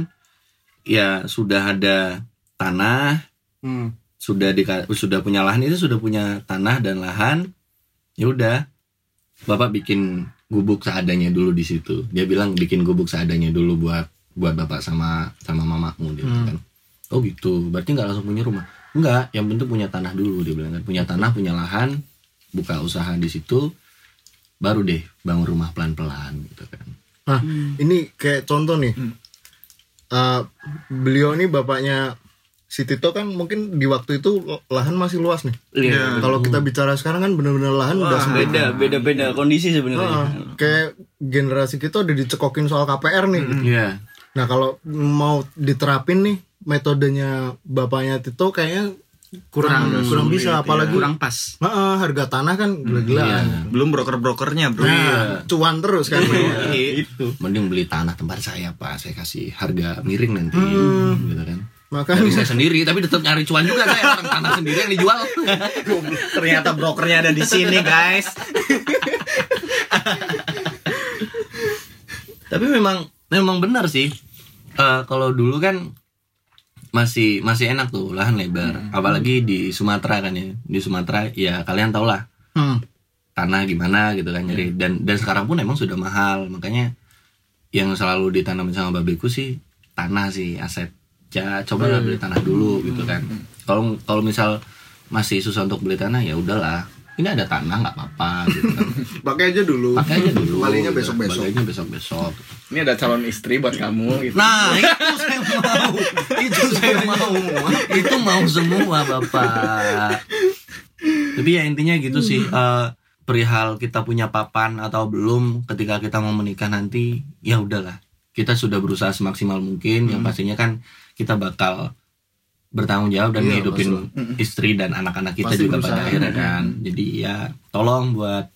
A: ya sudah ada tanah
C: Hmm.
A: sudah di sudah punya lahan itu sudah punya tanah dan lahan ya udah bapak bikin gubuk seadanya dulu di situ dia bilang bikin gubuk seadanya dulu buat buat bapak sama sama mamamu dia bilang kan oh gitu berarti nggak langsung punya rumah enggak yang penting punya tanah dulu dia bilang kan punya tanah punya lahan buka usaha di situ baru deh bangun rumah pelan pelan gitu kan
B: Nah, ini kayak contoh nih.
C: Hmm.
B: Eh, beliau ini bapaknya si Tito kan mungkin di waktu itu lahan masih luas nih.
C: Iya.
B: Kalau kita bicara sekarang kan benar-benar lahan udah sempit.
C: Beda Iya. beda beda kondisi
B: Heeh,
C: sebenarnya
B: kayak generasi kita udah dicekokin soal KPR nih.
C: Hmm.
B: gitu.
A: iya
B: Nah, kalau mau diterapin nih metodenya bapaknya Tito kayaknya kurang kurang, bisa apalagi
C: iya. Kurang Hmm, iya. pas
B: Heeh, harga tanah
A: Iya.
B: kan gila-gilaan.
D: belum broker brokernya bro
B: Nah, cuan terus kan.
C: Iya, Itu
A: mending beli tanah tempat saya pak saya kasih harga miring nanti gitu kan
B: Makanya
A: dari saya sendiri tapi tetap nyari cuan juga saya orang tanah sendiri yang dijual
D: ternyata brokernya ada di sini guys
A: tapi memang memang Nah, benar sih Eh, kalau dulu kan masih masih enak tuh lahan lebar apalagi di Sumatera kan ya di Sumatera ya kalian tau lah
B: Hmm.
A: tanah gimana gitu kan nyari dan dan sekarang pun emang sudah mahal makanya yang selalu ditanamin sama babeku sih Hmm. tanah sih aset ya coba lah beli tanah dulu gitu kan kalau kalau misal masih susah untuk beli tanah ya udahlah ini ada tanah nggak apa-apa gitu kan.
E: Pakai aja dulu.
A: pakai aja dulu
E: Baliknya
A: gitu.
E: besok-besok.
A: baliknya besok besok
D: Ini ada calon istri buat kamu gitu.
A: nah itu saya mau Nah, itu saya mau itu mau semua bapak tapi ya intinya gitu sih eh, perihal kita punya papan atau belum ketika kita mau menikah nanti ya udahlah kita sudah berusaha semaksimal mungkin yang pastinya kan kita bakal bertanggung jawab dan
B: Iya,
A: ngehidupin
D: Mm-mm.
A: istri dan anak-anak kita
B: Pasti
A: juga pada
B: berusaha.
A: akhirnya kan jadi ya tolong buat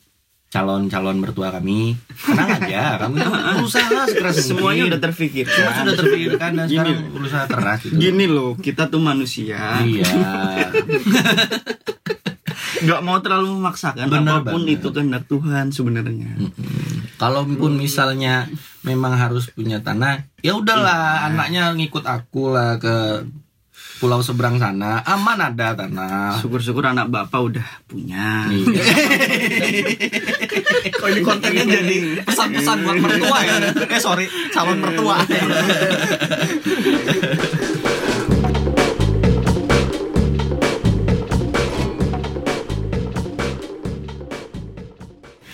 A: calon-calon mertua kami tenang aja kami tuh berusaha sekeras
C: Semuanya
A: mungkin.
C: udah terpikir.
A: Semua sudah terpikirkan dan
C: Gini.
A: sekarang berusaha keras gitu
C: Gini loh, kita tuh manusia.
A: iya
C: nggak mau terlalu memaksakan
A: Bener
C: apapun
A: banget.
C: itu kehendak Tuhan sebenarnya
D: Mm,
A: kalaupun misalnya memang harus punya tanah ya udahlah anaknya ngikut aku lah ke pulau seberang sana aman ada
D: ah.
A: tanah
C: syukur-syukur anak bapak udah punya
A: Iya.
D: Kok ini kontennya jadi pesan-pesan buat mertua ya? Eh sorry, calon mertua.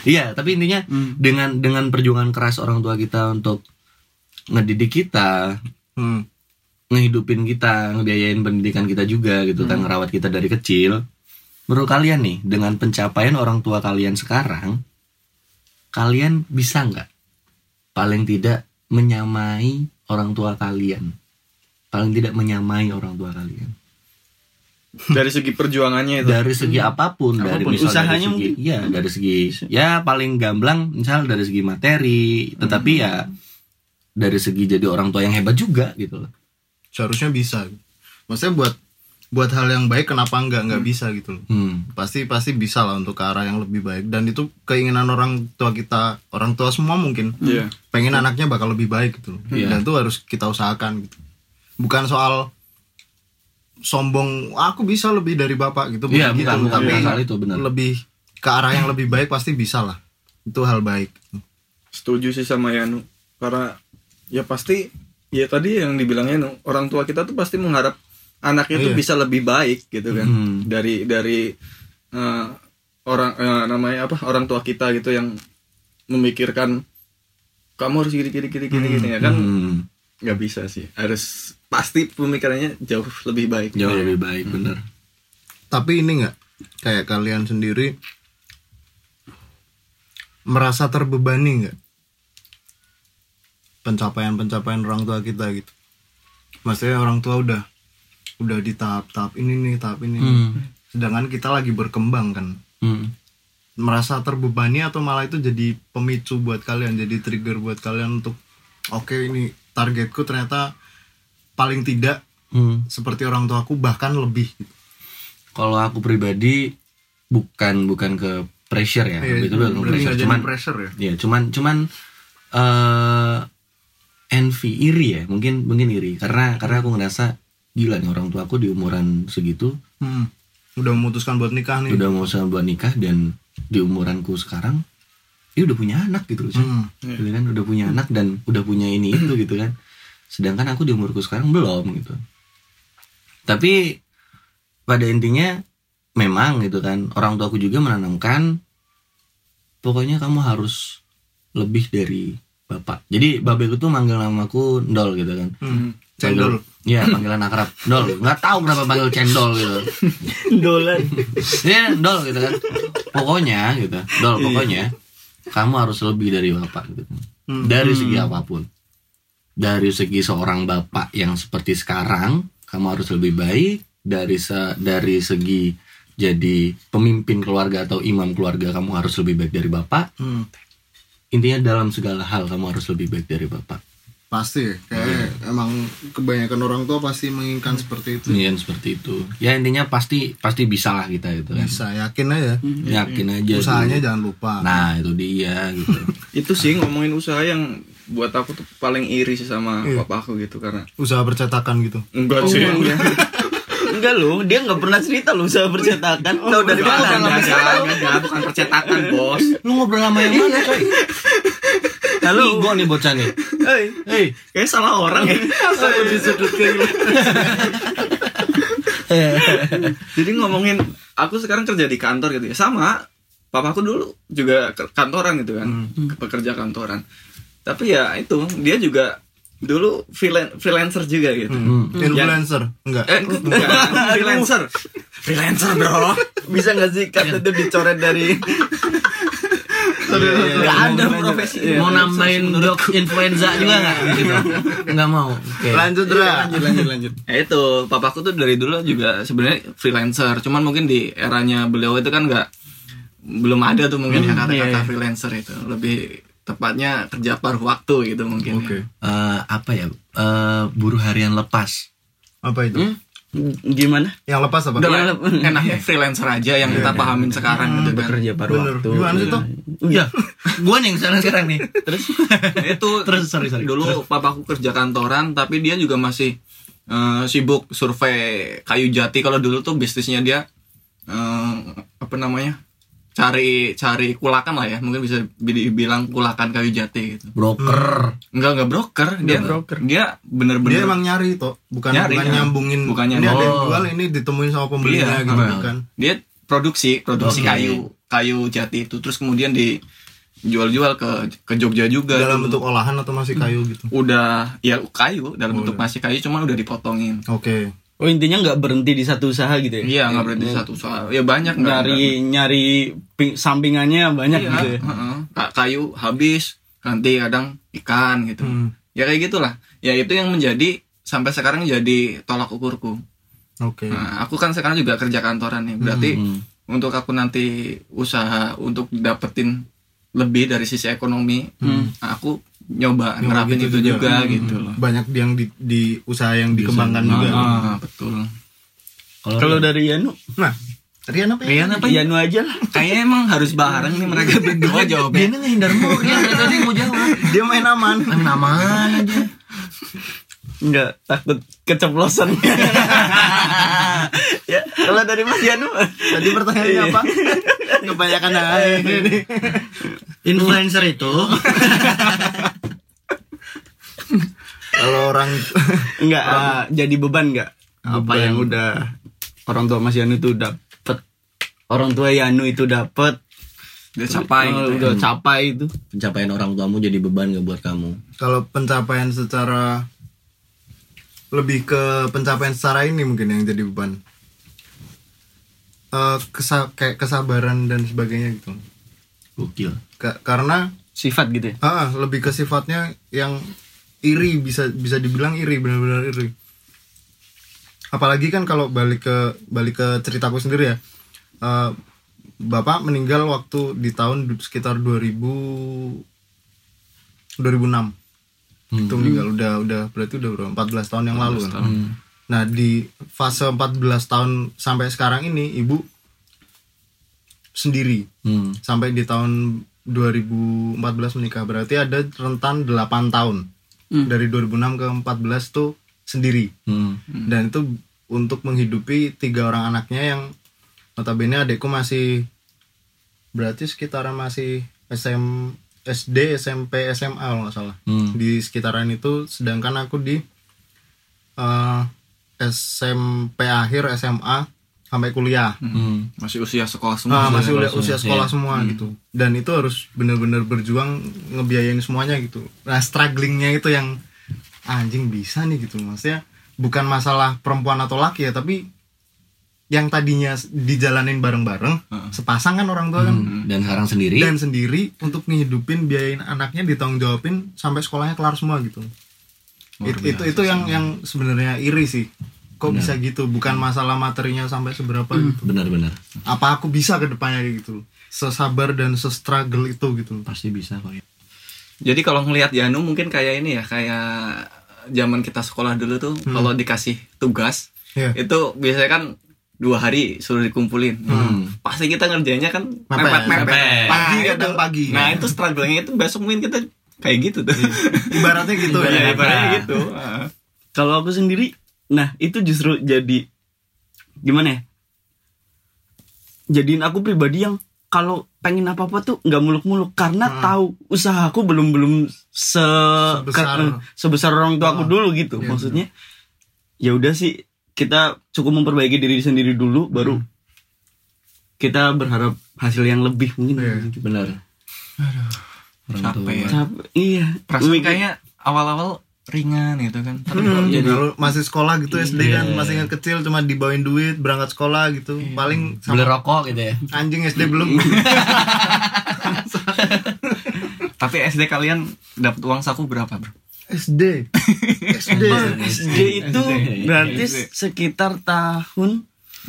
A: Iya, tapi intinya
D: Mm.
C: Hmm.
A: dengan dengan perjuangan keras orang tua kita untuk ngedidik kita,
B: Hmm.
A: ngehidupin kita, ngebiayain pendidikan kita juga gitu kan, ngerawat kita dari kecil. Menurut kalian nih, dengan pencapaian orang tua kalian sekarang, kalian bisa nggak paling tidak menyamai orang tua kalian? Paling tidak menyamai orang tua kalian.
D: Dari segi perjuangannya itu.
A: Dari segi apapun, dari
C: Apapun,
A: misal dari
C: usahanya
A: segi
C: mungkin.
A: ya, dari segi ya paling gamblang misal dari segi materi, tetapi ya dari segi jadi orang tua yang hebat juga gitu loh.
B: seharusnya bisa maksudnya buat buat hal yang baik kenapa nggak nggak bisa gitu loh
A: Hmm.
B: pasti pasti bisa lah untuk ke arah yang lebih baik dan itu keinginan orang tua kita orang tua semua mungkin
E: Hmm.
D: Iya.
B: pengen anaknya bakal lebih baik gitu loh
A: Iya.
B: dan itu harus kita usahakan gitu bukan soal sombong "Wah, aku bisa lebih dari bapak gitu
A: Iya,
B: gitu
A: bukan,
B: loh.
A: bukan
B: tapi
A: soal itu, benar.
B: lebih ke arah yang lebih baik pasti bisa lah itu hal baik
D: Setuju sih sama Yanu. Karena ya pasti ya tadi yang dibilangnya Yanu, orang tua kita tuh pasti mengharap anaknya tuh
B: Iya.
D: bisa lebih baik gitu kan.
A: Hmm.
D: Dari dari eh, orang eh, namanya apa? Orang tua kita gitu yang memikirkan kamu harus gini gini gini gini gini ya kan
A: Hmm.
D: nggak bisa sih harus pasti pemikirannya jauh lebih baik
A: jauh lebih baik bener
B: tapi ini nggak kayak kalian sendiri merasa terbebani nggak pencapaian-pencapaian orang tua kita gitu maksudnya orang tua udah udah di tahap-tahap ini nih tahap ini nih.
A: Hmm.
B: sedangkan kita lagi berkembang kan
A: Hmm.
B: merasa terbebani atau malah itu jadi pemicu buat kalian jadi trigger buat kalian untuk oke ini targetku ternyata paling tidak
A: Hmm.
B: seperti orang tuaku bahkan lebih gitu.
A: kalau aku pribadi bukan bukan ke pressure ya
B: Iya,
A: itu bukan ke
B: berarti
A: pressure
B: nggak jadi
A: cuman
B: pressure ya
A: ya cuman cuman eh envy iri ya mungkin mungkin iri karena karena aku ngerasa gila nih orang tuaku di umuran segitu
B: Hmm. Udah memutuskan buat nikah nih.
A: udah mau sama buat nikah dan di umuranku sekarang ya udah punya anak gitu loh Chan.
B: Hmm.
A: gitu kan udah punya anak dan udah punya ini itu gitu kan sedangkan aku di umurku sekarang belum gitu tapi pada intinya memang gitu kan orang tuaku juga menanamkan pokoknya kamu harus lebih dari bapak jadi babek itu manggil namaku ndol gitu kan
B: Hmm. Cendol.
A: Iya panggilan akrab Dol Gak tahu kenapa panggil cendol gitu
C: dolan
A: Iya dol gitu kan Pokoknya gitu Dol pokoknya Kamu harus lebih dari bapak gitu kan Dari segi apapun Dari segi seorang bapak yang seperti sekarang Kamu harus lebih baik Dari se dari segi jadi pemimpin keluarga atau imam keluarga kamu harus lebih baik dari bapak
B: Hmm.
A: intinya dalam segala hal kamu harus lebih baik dari bapak
B: Pasti ya. kayak emang kebanyakan orang tua pasti menginginkan seperti itu.
A: Iya seperti itu ya intinya pasti pasti bisa lah kita gitu kan
B: Bisa yakin aja. ya.
A: Hmm. yakin aja
B: Usahanya
A: dulu.
B: jangan lupa.
A: nah itu dia gitu
D: itu sih ngomongin usaha yang buat aku tuh paling iri sih sama
A: Iya.
D: papa aku gitu karena
B: Usaha percetakan gitu.
D: enggak sih
C: enggak loh dia nggak pernah cerita loh usaha percetakan
D: Oh,
C: tahu dari mana Anda?
D: bukan percetakan bos
A: Lu ngobrol sama yang mana coy? Halo. Gue nih bocah nih.
C: Hei,
A: Hei,
D: kayak salah orang ya
C: aku disudutkan
A: eh,
D: Jadi ngomongin aku sekarang kerja di kantor gitu ya. Sama papaku dulu juga ke- kantoran gitu kan.
C: Hmm.
D: Pekerja kantoran. Tapi ya itu dia juga dulu freelan- freelancer juga gitu.
C: Hmm.
B: Hmm. Influencer enggak?
D: Eh, enggak, freelancer. freelancer, Bro.
C: Bisa nggak sih kata itu dicoret dari
D: Iya, Enggak ada profesi.
A: mau nambahin jok influenza juga nggak gitu nggak mau oke
B: Iya, Lanjut Ra.
C: lanjut lanjut.
D: Ya itu, papaku tuh dari dulu juga sebenarnya freelancer. Cuman mungkin di eranya beliau itu kan nggak belum ada tuh mungkin ya kata-kata
C: iya, iya.
D: freelancer itu. Lebih tepatnya kerja paruh waktu gitu mungkin.
B: Oke.
A: Eh, apa ya Eh, buruh harian lepas
B: Apa itu?
C: Hmm? Gimana?
B: Yang lepas apa?
D: Udah lah,
C: Iya.
D: enaknya freelancer aja yang kita pahamin sekarang gitu kan.
C: Hmm, Bekerja paruh
B: Bener.
C: waktu.
B: Gimana sih, Toh?
A: udah gue nih yang sekarang sekarang nih Iya. terus
D: itu
A: Terus, sorry, sorry.
D: dulu papaku kerja kantoran tapi dia juga masih eh, sibuk survei kayu jati kalau dulu tuh bisnisnya dia eh, apa namanya cari cari kulakan lah ya mungkin bisa dibilang kulakan kayu jati gitu
A: broker
D: enggak enggak broker dia dia
B: Dia
D: bener-bener
B: emang nyari toh, bukan
D: Nyari,
B: bukan
D: ya.
B: nyambungin.
D: Bukan
B: ini ada yang
A: nyambung.
B: jual, ini ditemuin sama pembelinya
D: Iya,
B: gitu
D: heeh.
B: kan.
D: dia produksi
A: Oke.
D: produksi kayu kayu jati itu terus kemudian dijual-jual ke ke Jogja juga
B: Dalam
D: dulu.
B: bentuk olahan atau masih kayu gitu.
D: udah ya kayu dalam bentuk masih kayu cuman udah dipotongin
B: Oke.
C: Oh intinya nggak berhenti di satu usaha gitu ya?
D: Iya nggak berarti satu soal. Ya banyak nggak-
C: Nyari nyari pi- sampingannya banyak
D: nggak-
C: gitu
D: Iya,
C: ya.
D: heeh. Ka- kayu habis ganti kadang ikan gitu. Ya kayak gitulah. Ya itu yang menjadi sampai sekarang jadi tolak ukurku.
B: Oke.
D: Nah, aku kan sekarang juga kerja kantoran nih. Berarti untuk aku nanti usaha untuk dapetin lebih dari sisi ekonomi, nah, aku Hmm. nyoba nerapin
B: gitu
D: itu
B: juga.
D: juga, gitu loh.
B: Banyak yang di, di usaha yang dikembangkan juga.
D: Ah, betul.
A: Hmm.
C: Kalau dari Yanu,
B: Nah, Rian apa ya?
D: Rian Iya, apa?
C: Yanu aja lah.
D: Kayaknya emang harus bareng nih mereka berdua jawabnya.
A: dia nih ngehindar mulu dia dari tadi mau jawab
B: Dia main aman.
A: Main aman aja
C: Nggak takut keceplosan. ya, kalau dari Mas Yanu, Iya.
B: Tadi pertanyaannya apa? Kebanyakan hal ini.
E: influencer itu
B: Kalau orang
C: nggak ah, jadi beban nggak? Apa
E: Beban.
C: yang udah orang tua Mas Yanu itu dapet? Orang tua Yanu itu dapet?
D: Dia capai.
C: Oh,
D: gitu ya.
C: udah capai itu.
A: pencapaian orang tuamu jadi beban gak buat kamu
B: kalau pencapaian secara lebih ke pencapaian secara ini mungkin yang jadi beban. Eh kesa- kayak kesabaran dan sebagainya gitu.
A: gokil
B: Ka- karena
C: Sifat gitu ya.
B: ah, lebih ke sifatnya yang iri bisa bisa dibilang iri benar-benar iri. Apalagi kan kalau balik ke balik ke ceritaku sendiri ya. Eh, Bapak meninggal waktu di tahun du- sekitar 2000 2006.
A: Hmm.
B: Itu meninggal udah udah berarti udah berapa? 14 tahun yang lalu kan. Nah, di fase 14 tahun sampai sekarang ini ibu sendiri
A: hmm.
B: sampai di tahun 2014 menikah berarti ada rentan 8 tahun dari 2006 ke 14 tuh sendiri
A: Hmm.
B: dan itu untuk menghidupi tiga orang anaknya yang notabene adekku masih berarti sekitaran masih SM SD SMP SMA kalau nggak salah
A: Hmm.
B: di sekitaran itu sedangkan aku di eh, SMP akhir SMA sampai kuliah
A: Hmm.
D: masih usia sekolah
B: Ah,
D: semua.
B: masih udah usia sekolah semua gitu dan itu harus bener-bener berjuang ngebiayain semuanya gitu nah strugglingnya itu yang "Ah, anjing bisa nih gitu maksudnya bukan masalah perempuan atau laki ya tapi yang tadinya s- dijalanin bareng-bareng sepasang kan orang tua kan
A: Hmm. dan sekarang sendiri
B: dan sendiri untuk ngehidupin biayain anaknya ditanggung jawabin sampai sekolahnya kelar semua gitu It- itu itu yang yang sebenarnya iri sih kok bisa gitu bukan masalah materinya sampai seberapa gitu
A: benar-benar
B: apa aku bisa ke depannya kayak gitu sesabar dan se-struggle itu gitu
A: pasti bisa kok ya
D: Jadi kalau ngelihat Yanu mungkin kayak ini ya, kayak zaman kita sekolah dulu tuh kalau dikasih tugas
B: Iya.
D: itu biasanya kan dua hari suruh dikumpulin. Nah, Pasti kita ngerjainnya kan mepet mepet.
B: pagi
D: Nah,
B: kadang
D: itu-
B: pagi
D: Nah, itu struggle-nya itu besok mungkin kita kayak gitu tuh.
B: ibaratnya gitu ya
D: Iya,
C: Ibaratnya
D: kayak gitu. Ah.
C: Kalau aku sendiri, nah itu justru jadi gimana ya? Jadiin aku pribadi yang kalau pengen apa apa tuh nggak muluk-muluk karena tahu usaha aku belum belum se
B: Hmm.
C: eh,
B: Sebesar. Ah. Iya,
C: sebesar orang tua aku dulu gitu. Maksudnya ya udah sih kita cukup memperbaiki diri sendiri dulu
B: Hmm.
C: baru kita berharap hasil yang lebih mungkin
B: Iya.
F: benar orang
D: Capek ya.
C: Cap- iya
D: Perasaan
C: Mungkin-
B: ya.
D: kayaknya awal-awal ringan gitu kan. Tapi kalau
B: Hmm,
D: jadi
B: kalau masih sekolah gitu SD kan
F: Iya.
B: masih ingat kecil cuma dibawain duit berangkat sekolah gitu paling
F: beli
B: sama
F: rokok gitu ya
B: anjing SD belum
D: tapi SD kalian dapat uang saku berapa, Bro?
B: SD SD
C: SD itu berarti sekitar tahun
D: 2006,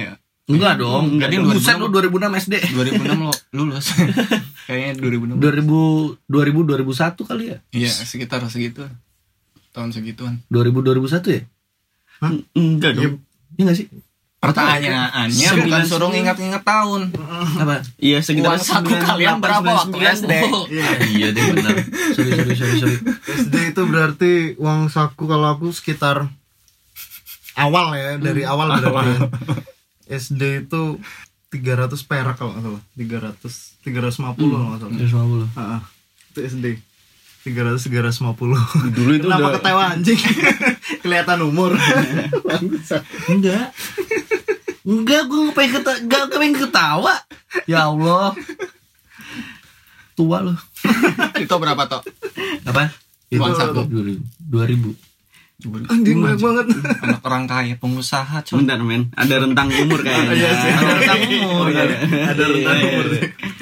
D: ya.
A: Enggak dong. Enggak,
C: Enggak,
D: dia
A: Buset lu 2006 SD.
D: 2006 lo lulus. Kayaknya 2006.
A: 2000 2000 2001 kali ya?
D: Iya, sekitar segitu. Tahun segituan.
A: 2000 2001 ya?
C: enggak dong
A: Iya enggak sih?
D: Oh, Pertanyaannya bukan
C: Sembilan
D: suruh
C: sembilan.
D: ngingat-ngingat tahun. Apa?
C: iya sekitar
D: Uang saku kalian berapa waktu SD?
F: iya deh benar
A: Sorry sorry sorry sorry.
B: SD itu berarti uang saku kalau aku sekitar awal ya dari awal berarti ya. SD itu 300 perak kalau nggak salah 300 350 kalau nggak salah
A: 150.
B: Ah, ah. itu SD 300 350
C: dulu itu
B: Kenapa
C: udah
B: ketawa anjing? Kelihatan umur.
A: Enggak. Enggak, gue nggak pengen ketawa, enggak nggak pengen ketawa. Ya Allah. Tua lu.
D: Itu berapa, Tok?
A: Apa?
B: Itu
D: Uang saku.
A: 2000. 2000.
B: Anjing banyak banget.
D: Anak orang kaya, pengusaha, cuy.
C: sebentar men ada rentang umur kayaknya
B: Iya sih.
C: ada rentang umur
B: Iya, Ada rentan umur.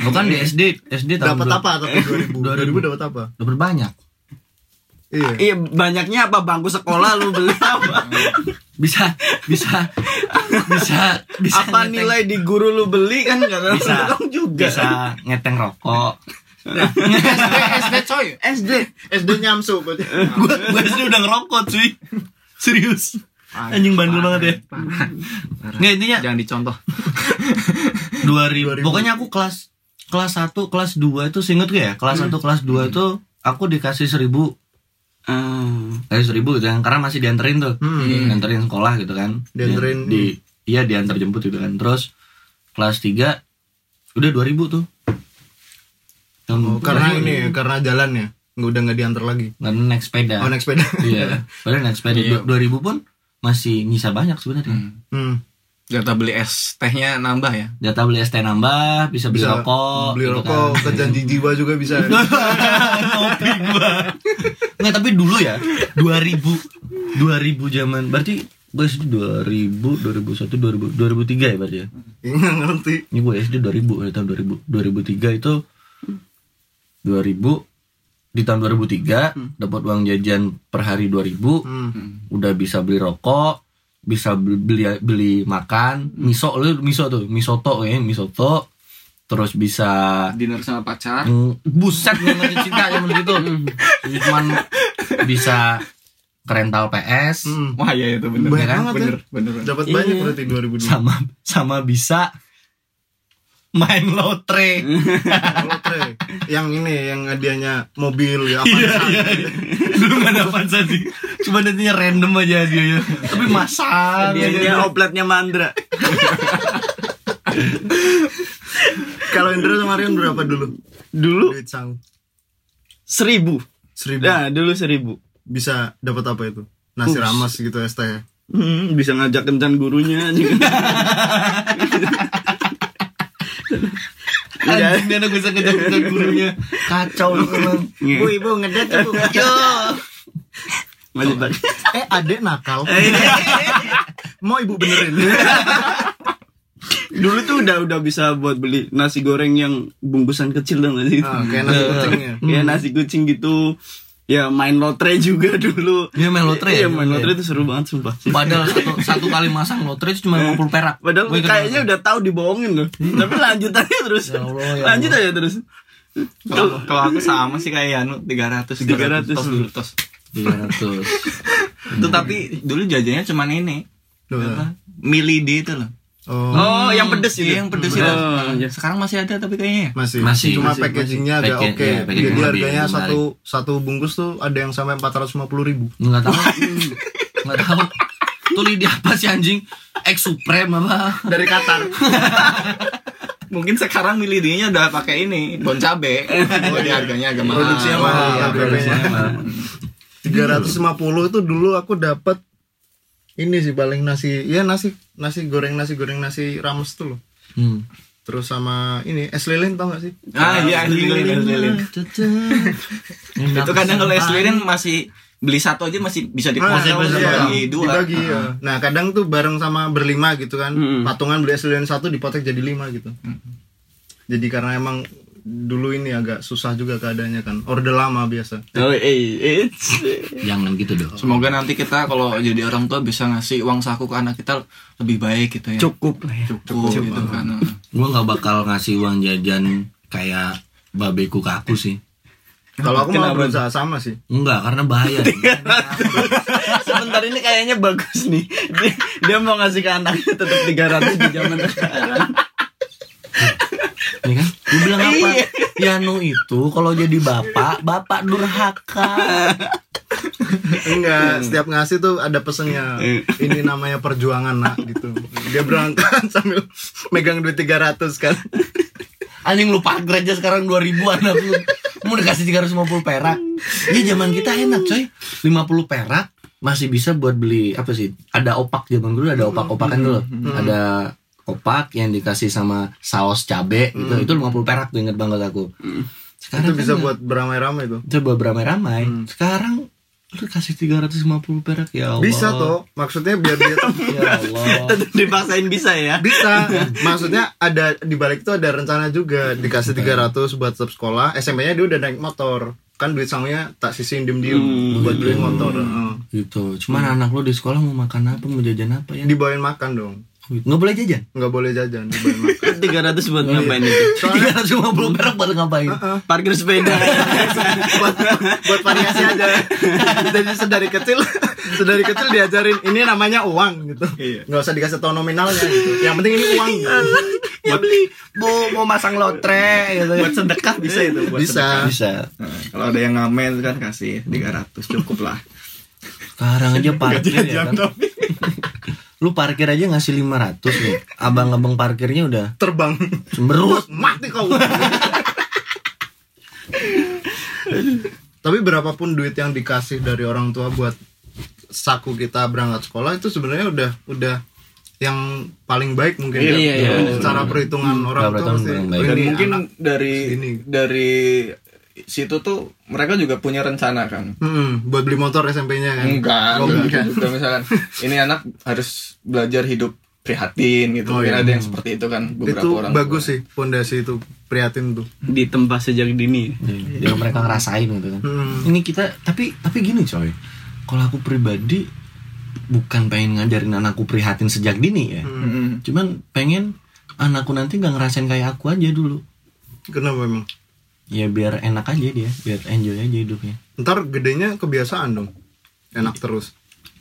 A: Bukan iya. kan di SD, SD tahun
B: Dapat
A: berapa?
B: apa tapi 2000? 2000 dapat apa?
A: Dapat banyak.
B: Iya.
C: iya banyaknya apa bangku sekolah lu beli apa
A: Bisa, bisa, bisa, bisa.
C: apa
A: ngeteng-
C: nilai di guru lu beli kan nggak
A: Bisa.
C: rentang juga
A: Bisa ngeteng rokok.
D: SD, coy.
C: SD
B: SD nyamsu berarti.
A: Gue gue SD udah ngerokok cuy. Serius. Anjing bandel banget ya. Nggak intinya
B: Ya.
D: Jangan dicontoh.
A: 2000. Pokoknya aku kelas kelas 1, kelas 2 itu seinget gue ya. Kelas 1, kelas 2 itu aku dikasih 1000
D: Hmm.
C: Ah,
A: Eh seribu gitu kan karena masih dianterin tuh
B: Hmm.
A: dianterin sekolah gitu kan
B: Dianterin.
A: di iya diantar jemput gitu kan terus kelas 3 udah 2000 tuh Yang-
B: Oh, karena ini ya, karena jalan ya. Nggak udah nggak diantar lagi.
A: karena naik sepeda
B: Oh, naik sepeda.
A: iya padahal naik sepeda
D: Iya.
A: 2000 pun masih nyisa banyak sebenarnya
B: Hmm.
D: Jatah beli es tehnya nambah ya.
A: jatah beli ST nambah bisa beli rokok
B: beli
A: gitu
B: rokok,
A: kan.
B: ke janji jiwa juga bisa.
A: Ngopi gua. Nggak, tapi dulu ya 2000 2000 zaman berarti gue SD 2000 2001 2000 2003 ya berarti ya
B: Ini Iya, nggak ngerti.
A: ini gue SD 2000 dari tahun 2000 2003 itu 2000 di tahun 2003 dapat uang jajan per hari 2000
B: Hmm.
A: udah bisa beli rokok bisa beli beli, beli
B: Hmm.
A: makan miso lu miso tuh misoto ya misoto terus bisa
D: Dinner sama pacar.
A: Hmm, buset namanya cinta zaman gitu Jadi cuman bisa kerental PS
B: Hmm.
D: Wah, ya itu bener.
B: Banyak
D: Ya kan?
B: banget ya.
D: bener, bener, bener.
B: Dapat banyak
C: Iya.
B: berarti 2002.
A: sama sama bisa main lotre
B: Lotre. yang ini yang hadiahnya mobil ya apa
A: iya. dulu nggak ada apa sih cuma nantinya random aja dia ya tapi masal
C: dia
A: aja.
C: dia opletnya Mandra
B: Kalau Indra sama Rian berapa dulu?
C: dulu
B: Duit sang
C: seribu
B: seribu.
C: nah dulu seribu
B: Bisa dapat apa itu? Nasi rames gitu ST ya.
C: Hmm, bisa ngajak kencan gurunya anjing.
A: Anjing, dia anak bisa kejar-kejar gurunya kacau lu emang
C: Iya.
B: ibu ngedet ibu.
C: Lanjut, Pak.
B: eh adek nakal.
C: Eh.
B: Mau ibu benerin.
C: Dulu tuh udah udah bisa buat beli nasi goreng yang bungkusan kecil dong sih?
B: Ah, kayak nasi Hmm. kucingnya.
C: Ya nasi kucing gitu. Ya main lotre juga dulu.
A: Iya, main lotre ya?
C: Iya, main
A: Iya.
C: lotre itu seru banget sumpah.
A: padahal satu, satu kali masang lotre itu cuma 50 perak
C: Padahal
A: Gua ikut Iya.
C: kayaknya udah tahu dibohongin loh. Tapi lanjut aja terus.
A: Ya Allah, ya
C: lanjut aja terus.
D: Kalau kalau aku sama sih kayak Yanu 300
C: 300.
D: tos dulu tos.
A: Iya, 300
D: Itu tapi dulu jajannya cuman ini.
B: Loh,
D: Apa? Mili D itu loh.
B: Oh,
C: Oh, yang pedes
D: Iya,
C: gitu.
D: yang pedes
C: Hmm.
D: itu. Ah,
C: Oh, iya.
D: Sekarang masih ada tapi kayaknya ya.
B: masih.
A: Masih,
B: Cuma
A: masih,
B: packagingnya
A: masih.
B: agak
A: Packaging-
B: oke.
A: iya, packaging
B: Jadi
A: lebih
B: harganya
A: menarik.
B: satu satu bungkus tuh ada yang sampai 450 ribu.
A: Nggak tahu. Nggak tahu. Tuh lidah apa sih anjing? X Supreme apa?
B: Dari Qatar.
D: Mungkin sekarang Mili D-nya udah pakai ini, bon cabe. Jadi harganya agak mahal.
B: Produksinya
D: Oh,
B: mahal.
D: iya.
B: harganya mahal. 350 itu dulu aku dapat ini sih paling nasi ya nasi nasi goreng nasi goreng nasi rames tuh loh
A: Hmm.
B: terus sama ini es lilin tau gak sih
D: Ah iya, es lilin, es lilin.
A: Enak
D: Itu kadang kalau es
A: sekali.
D: lilin kan masih beli satu aja masih
B: Ah,
D: bisa dipotong
B: iya,
D: bagi dua. Ah.
B: dibagi, iya. nah kadang tuh bareng sama berlima gitu kan
D: Mm-mm.
B: patungan beli es lilin satu dipotek jadi lima gitu jadi karena emang dulu ini agak susah juga keadaannya kan orde lama biasa
D: Oh, eh,
A: Iya.
D: eh.
A: Jangan gitu dong.
D: Semoga nanti kita kalau jadi orang tua bisa ngasih uang saku ke anak kita lebih baik gitu ya.
C: cukup lah ya
D: Cukup, gitu kan.
A: Gue nggak bakal ngasih uang jajan kayak babeku ke aku sih.
B: kalau aku malah
C: Kenapa?
B: berusaha sama sih
A: Enggak, karena bahaya.
C: sebentar ini kayaknya bagus nih dia, dia mau ngasih ke anaknya tetap 300 di zaman sekarang
A: Ini kan? Gue bilang apa? Yano itu kalau jadi bapak, bapak durhaka.
B: Enggak, setiap ngasih tuh ada pesennya. Ini namanya perjuangan, Nak, gitu. Dia berangkat sambil megang duit 300 kan.
E: Anjing lu pagar aja sekarang 2000 anak lu. Mau dikasih 350 perak. Iya zaman kita enak coy. 50 perak masih bisa buat beli apa sih? Ada opak zaman dulu ada opak-opakan
B: Hmm,
E: dulu. Ada opak yang dikasih sama saus cabe gitu. Itu 50 perak tuh inget banget aku.
B: Hmm. Itu
E: kan
B: bisa
E: nggak-
B: buat Hmm. beramai-ramai tuh.
E: coba beramai-ramai. Sekarang lu kasih 350 perak ya Allah.
B: Bisa tuh, maksudnya biar dia tuh
E: Ya
A: Oh.
E: Allah.
C: tetap dipaksain bisa ya
B: bisa. Maksudnya ada di balik itu ada rencana juga dikasih 300 buat tetap sekolah, SMP-nya dia udah naik motor. Kan duit sangunya tak sisihin diem-diem buat beli motor. Heeh.
A: gitu. Cuman
B: Hmm.
A: anak lu di sekolah mau makan apa, mau jajan apa ya?
B: Dibawain makan dong.
A: Nggak boleh jajan.
B: Nggak boleh jajan, dibawain makan.
C: 300
A: Oh,
C: buat
A: iya.
C: ngapain itu
B: Soalnya
E: 350 perak buat ngapain?
C: parkir sepeda
B: buat buat variasi aja jadi sedari kecil sedari kecil diajarin ini namanya uang gitu
D: Iya.
B: nggak usah dikasih tau nominalnya gitu. yang penting ini uang gitu.
E: Ya beli mau mau masang lotre gitu.
C: buat sedekah bisa itu buat
B: bisa
E: Bisa.
D: Nah, kalau ada yang ngamen kan kasih 300 cukup lah.
E: Sekarang aja parkir ya kan. Lu parkir aja ngasih 500 nih. Abang-abang parkirnya udah
B: terbang
E: cemberut.
B: mati kau tapi berapapun duit yang dikasih dari orang tua buat saku kita berangkat sekolah itu sebenarnya udah udah yang paling baik mungkin
D: Iya, iya, iya.
B: cara perhitungan orang
E: Cara
B: tua
E: perhitungan
B: pasti
E: paling baik.
D: Dan
B: ini
D: mungkin
B: anak.
D: dari
B: segini.
D: dari situ tuh mereka juga punya rencana kan.
B: Mm-mm, Hmm, buat beli motor SMP-nya kan
D: Enggak,
B: Oh,
D: enggak. Juga misalkan ini anak harus belajar hidup prihatin gitu.
B: Oh,
D: Mungkin
B: iya.
D: ada yang seperti itu kan beberapa
B: itu
D: orang.
B: bagus sih pondasi itu prihatin tuh
C: ditempa sejak dini
E: Jadi mereka ngerasain gitu kan.
B: Hmm.
E: Ini kita tapi tapi gini coy. Kalau aku pribadi bukan pengen ngajarin anakku prihatin sejak dini ya.
D: Mm-mm.
E: Cuman pengen anakku nanti nggak ngerasain kayak aku aja dulu.
B: kenapa emang
E: Ya biar enak aja dia, biar enjoy aja hidupnya.
B: ntar gedenya kebiasaan dong enak terus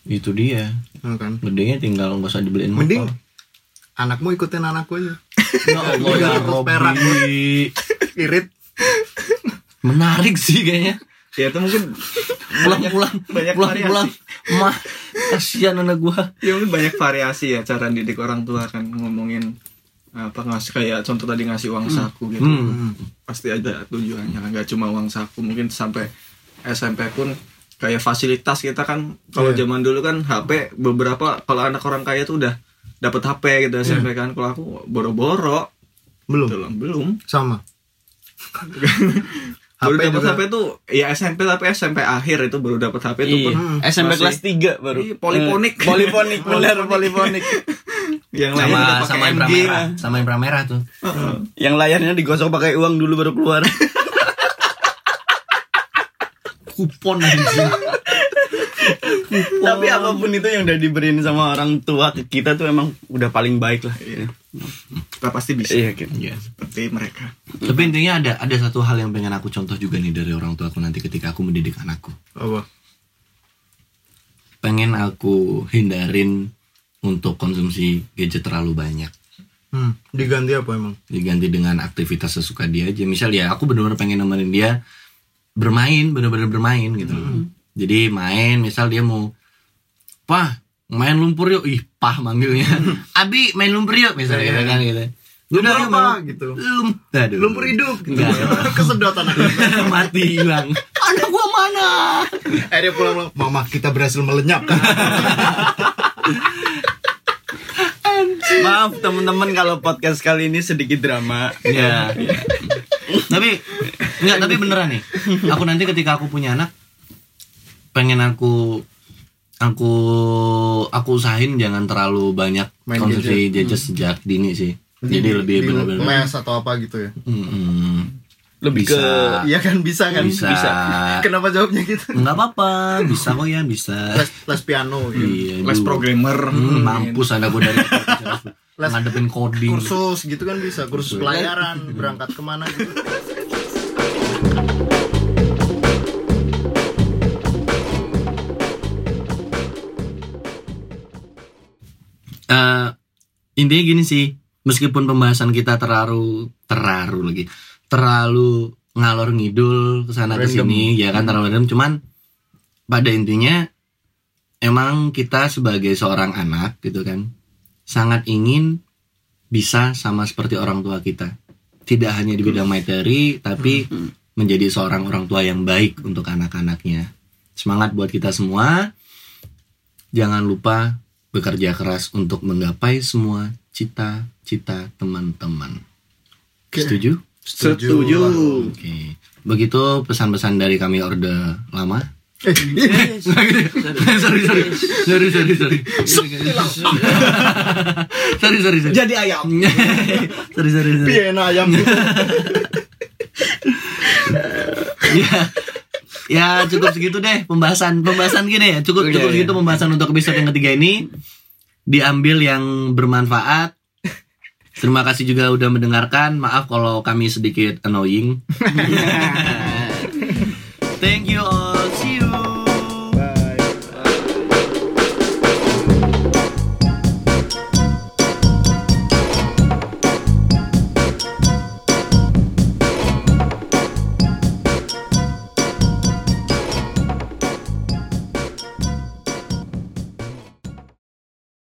E: Itu dia.
B: ya kan
E: Gedenya tinggal nggak usah dibeliin motor.
B: mending anakmu ikutin anakku aja
E: Ya Allah ya
B: Perak.
E: Robby.
B: irit
E: Menarik sih kayaknya.
D: Ya itu mungkin
E: Pulang pulang
D: banyak
E: pulang
D: variasi.
E: pulang. Mah kasihan anak gua.
D: ya mungkin banyak variasi ya cara didik orang tua kan ngomongin apa ngasih kayak contoh tadi ngasih uang saku gitu
E: Hmm.
D: pasti ada tujuannya kan nggak cuma uang saku mungkin sampai SMP pun kayak fasilitas kita kan kalau
B: Iya.
D: zaman dulu kan HP beberapa kalau anak orang kaya tuh udah dapat HP gitu SMP kan kalau aku
B: Iya.
D: boro-boro
B: belum
D: belum belum
B: sama
D: baru
B: HP
D: dapat
B: juga.
D: HP tuh ya SMP tapi SMP akhir itu baru dapat HP
C: Iya.
D: itu pun
B: Hmm.
C: SMP
D: Masih-
C: kelas 3 baru
D: Iya, poliponik.
C: Eh, poliponik bener poliponik
D: yang lain udah
E: Sama
D: pakai
E: sama yang
D: MG
E: merah, sama yang merah tuh.
C: yang layarnya digosok pakai uang dulu baru keluar
E: Kupon anjing.
C: tapi apapun itu yang udah diberin sama orang tua ke kita tuh emang udah paling baik lah
D: Iya. kita pasti bisa
C: iya gitu
E: Iya.
D: seperti mereka
A: Tapi intinya ada ada satu hal yang pengen aku contoh juga nih dari orang tuaku nanti ketika aku mendidik anakku.
B: apa
A: Pengen aku hindarin untuk konsumsi gadget terlalu banyak.
B: Hmm, diganti apa emang
A: Diganti dengan aktivitas sesuka dia aja. Misal ya aku bener-bener pengen nemenin dia bermain, bener-bener bermain gitu.
B: Hmm.
A: loh. Jadi main, misal dia mau, pah main lumpur yuk, ih pah manggilnya, abi main lumpur yuk, misalnya gitu kan gitu. Udah,
B: Hmm. Iya, Lumpur
A: yuk,
B: apa?
A: main.
B: Gitu.
A: Lum, aduh.
B: lumpur hidup gitu.
A: Enggak, enggak.
B: kesedotan akhirnya.
A: mati hilang. Anak gua mana?
B: akhirnya pulang pulang mama kita berhasil melenyapkan
C: Maaf teman-teman kalau podcast kali ini sedikit drama.
A: Iya. tapi enggak, tapi beneran nih. Aku nanti ketika aku punya anak pengen aku aku aku usahain jangan terlalu banyak
B: Main Hmm.
A: konsumsi gadget sejak dini sih. Jadi lebih
B: di
A: bener-bener
B: mes atau apa gitu ya
A: Mm-mm.
C: Lebih
A: Bisa.
C: ke
B: iya kan bisa
A: Nah.
B: kan
A: Bisa.
B: kenapa jawabnya gitu
A: Enggak apa-apa, bisa kok ya, bisa.
B: les les piano gitu.
A: Iya,
D: les
A: dulu.
D: programmer
A: Hmm, mampus ada gue dari
B: Les-
A: ngadepin coding.
B: kursus gitu kan bisa kursus pelayaran berangkat kemana gitu
A: Eh, intinya gini sih, meskipun pembahasan kita terlalu terlalu lagi, terlalu ngalor ngidul ke sana ke
B: Random.
A: sini, ya kan terlalu random, cuman pada intinya emang kita sebagai seorang anak gitu kan sangat ingin bisa sama seperti orang tua kita. Tidak hanya di bidang materi, tapi menjadi seorang orang tua yang baik untuk anak-anaknya. Semangat buat kita semua. Jangan lupa bekerja keras untuk menggapai semua cita-cita teman-teman.
B: Oke.
A: Setuju?
B: Setuju.
A: Oke. Begitu pesan-pesan dari kami orde lama.
B: Eh, iya.
A: sorry, sorry. Sorry, sorry, sorry. sorry, sorry, sorry.
B: jadi ayam
A: sorry, sorry, sorry.
B: piena ayam gitu.
A: ya ya cukup segitu deh pembahasan pembahasan gini ya cukup cukup segitu pembahasan untuk episode yang ketiga ini diambil yang bermanfaat terima kasih juga udah mendengarkan maaf kalau kami sedikit annoying thank you all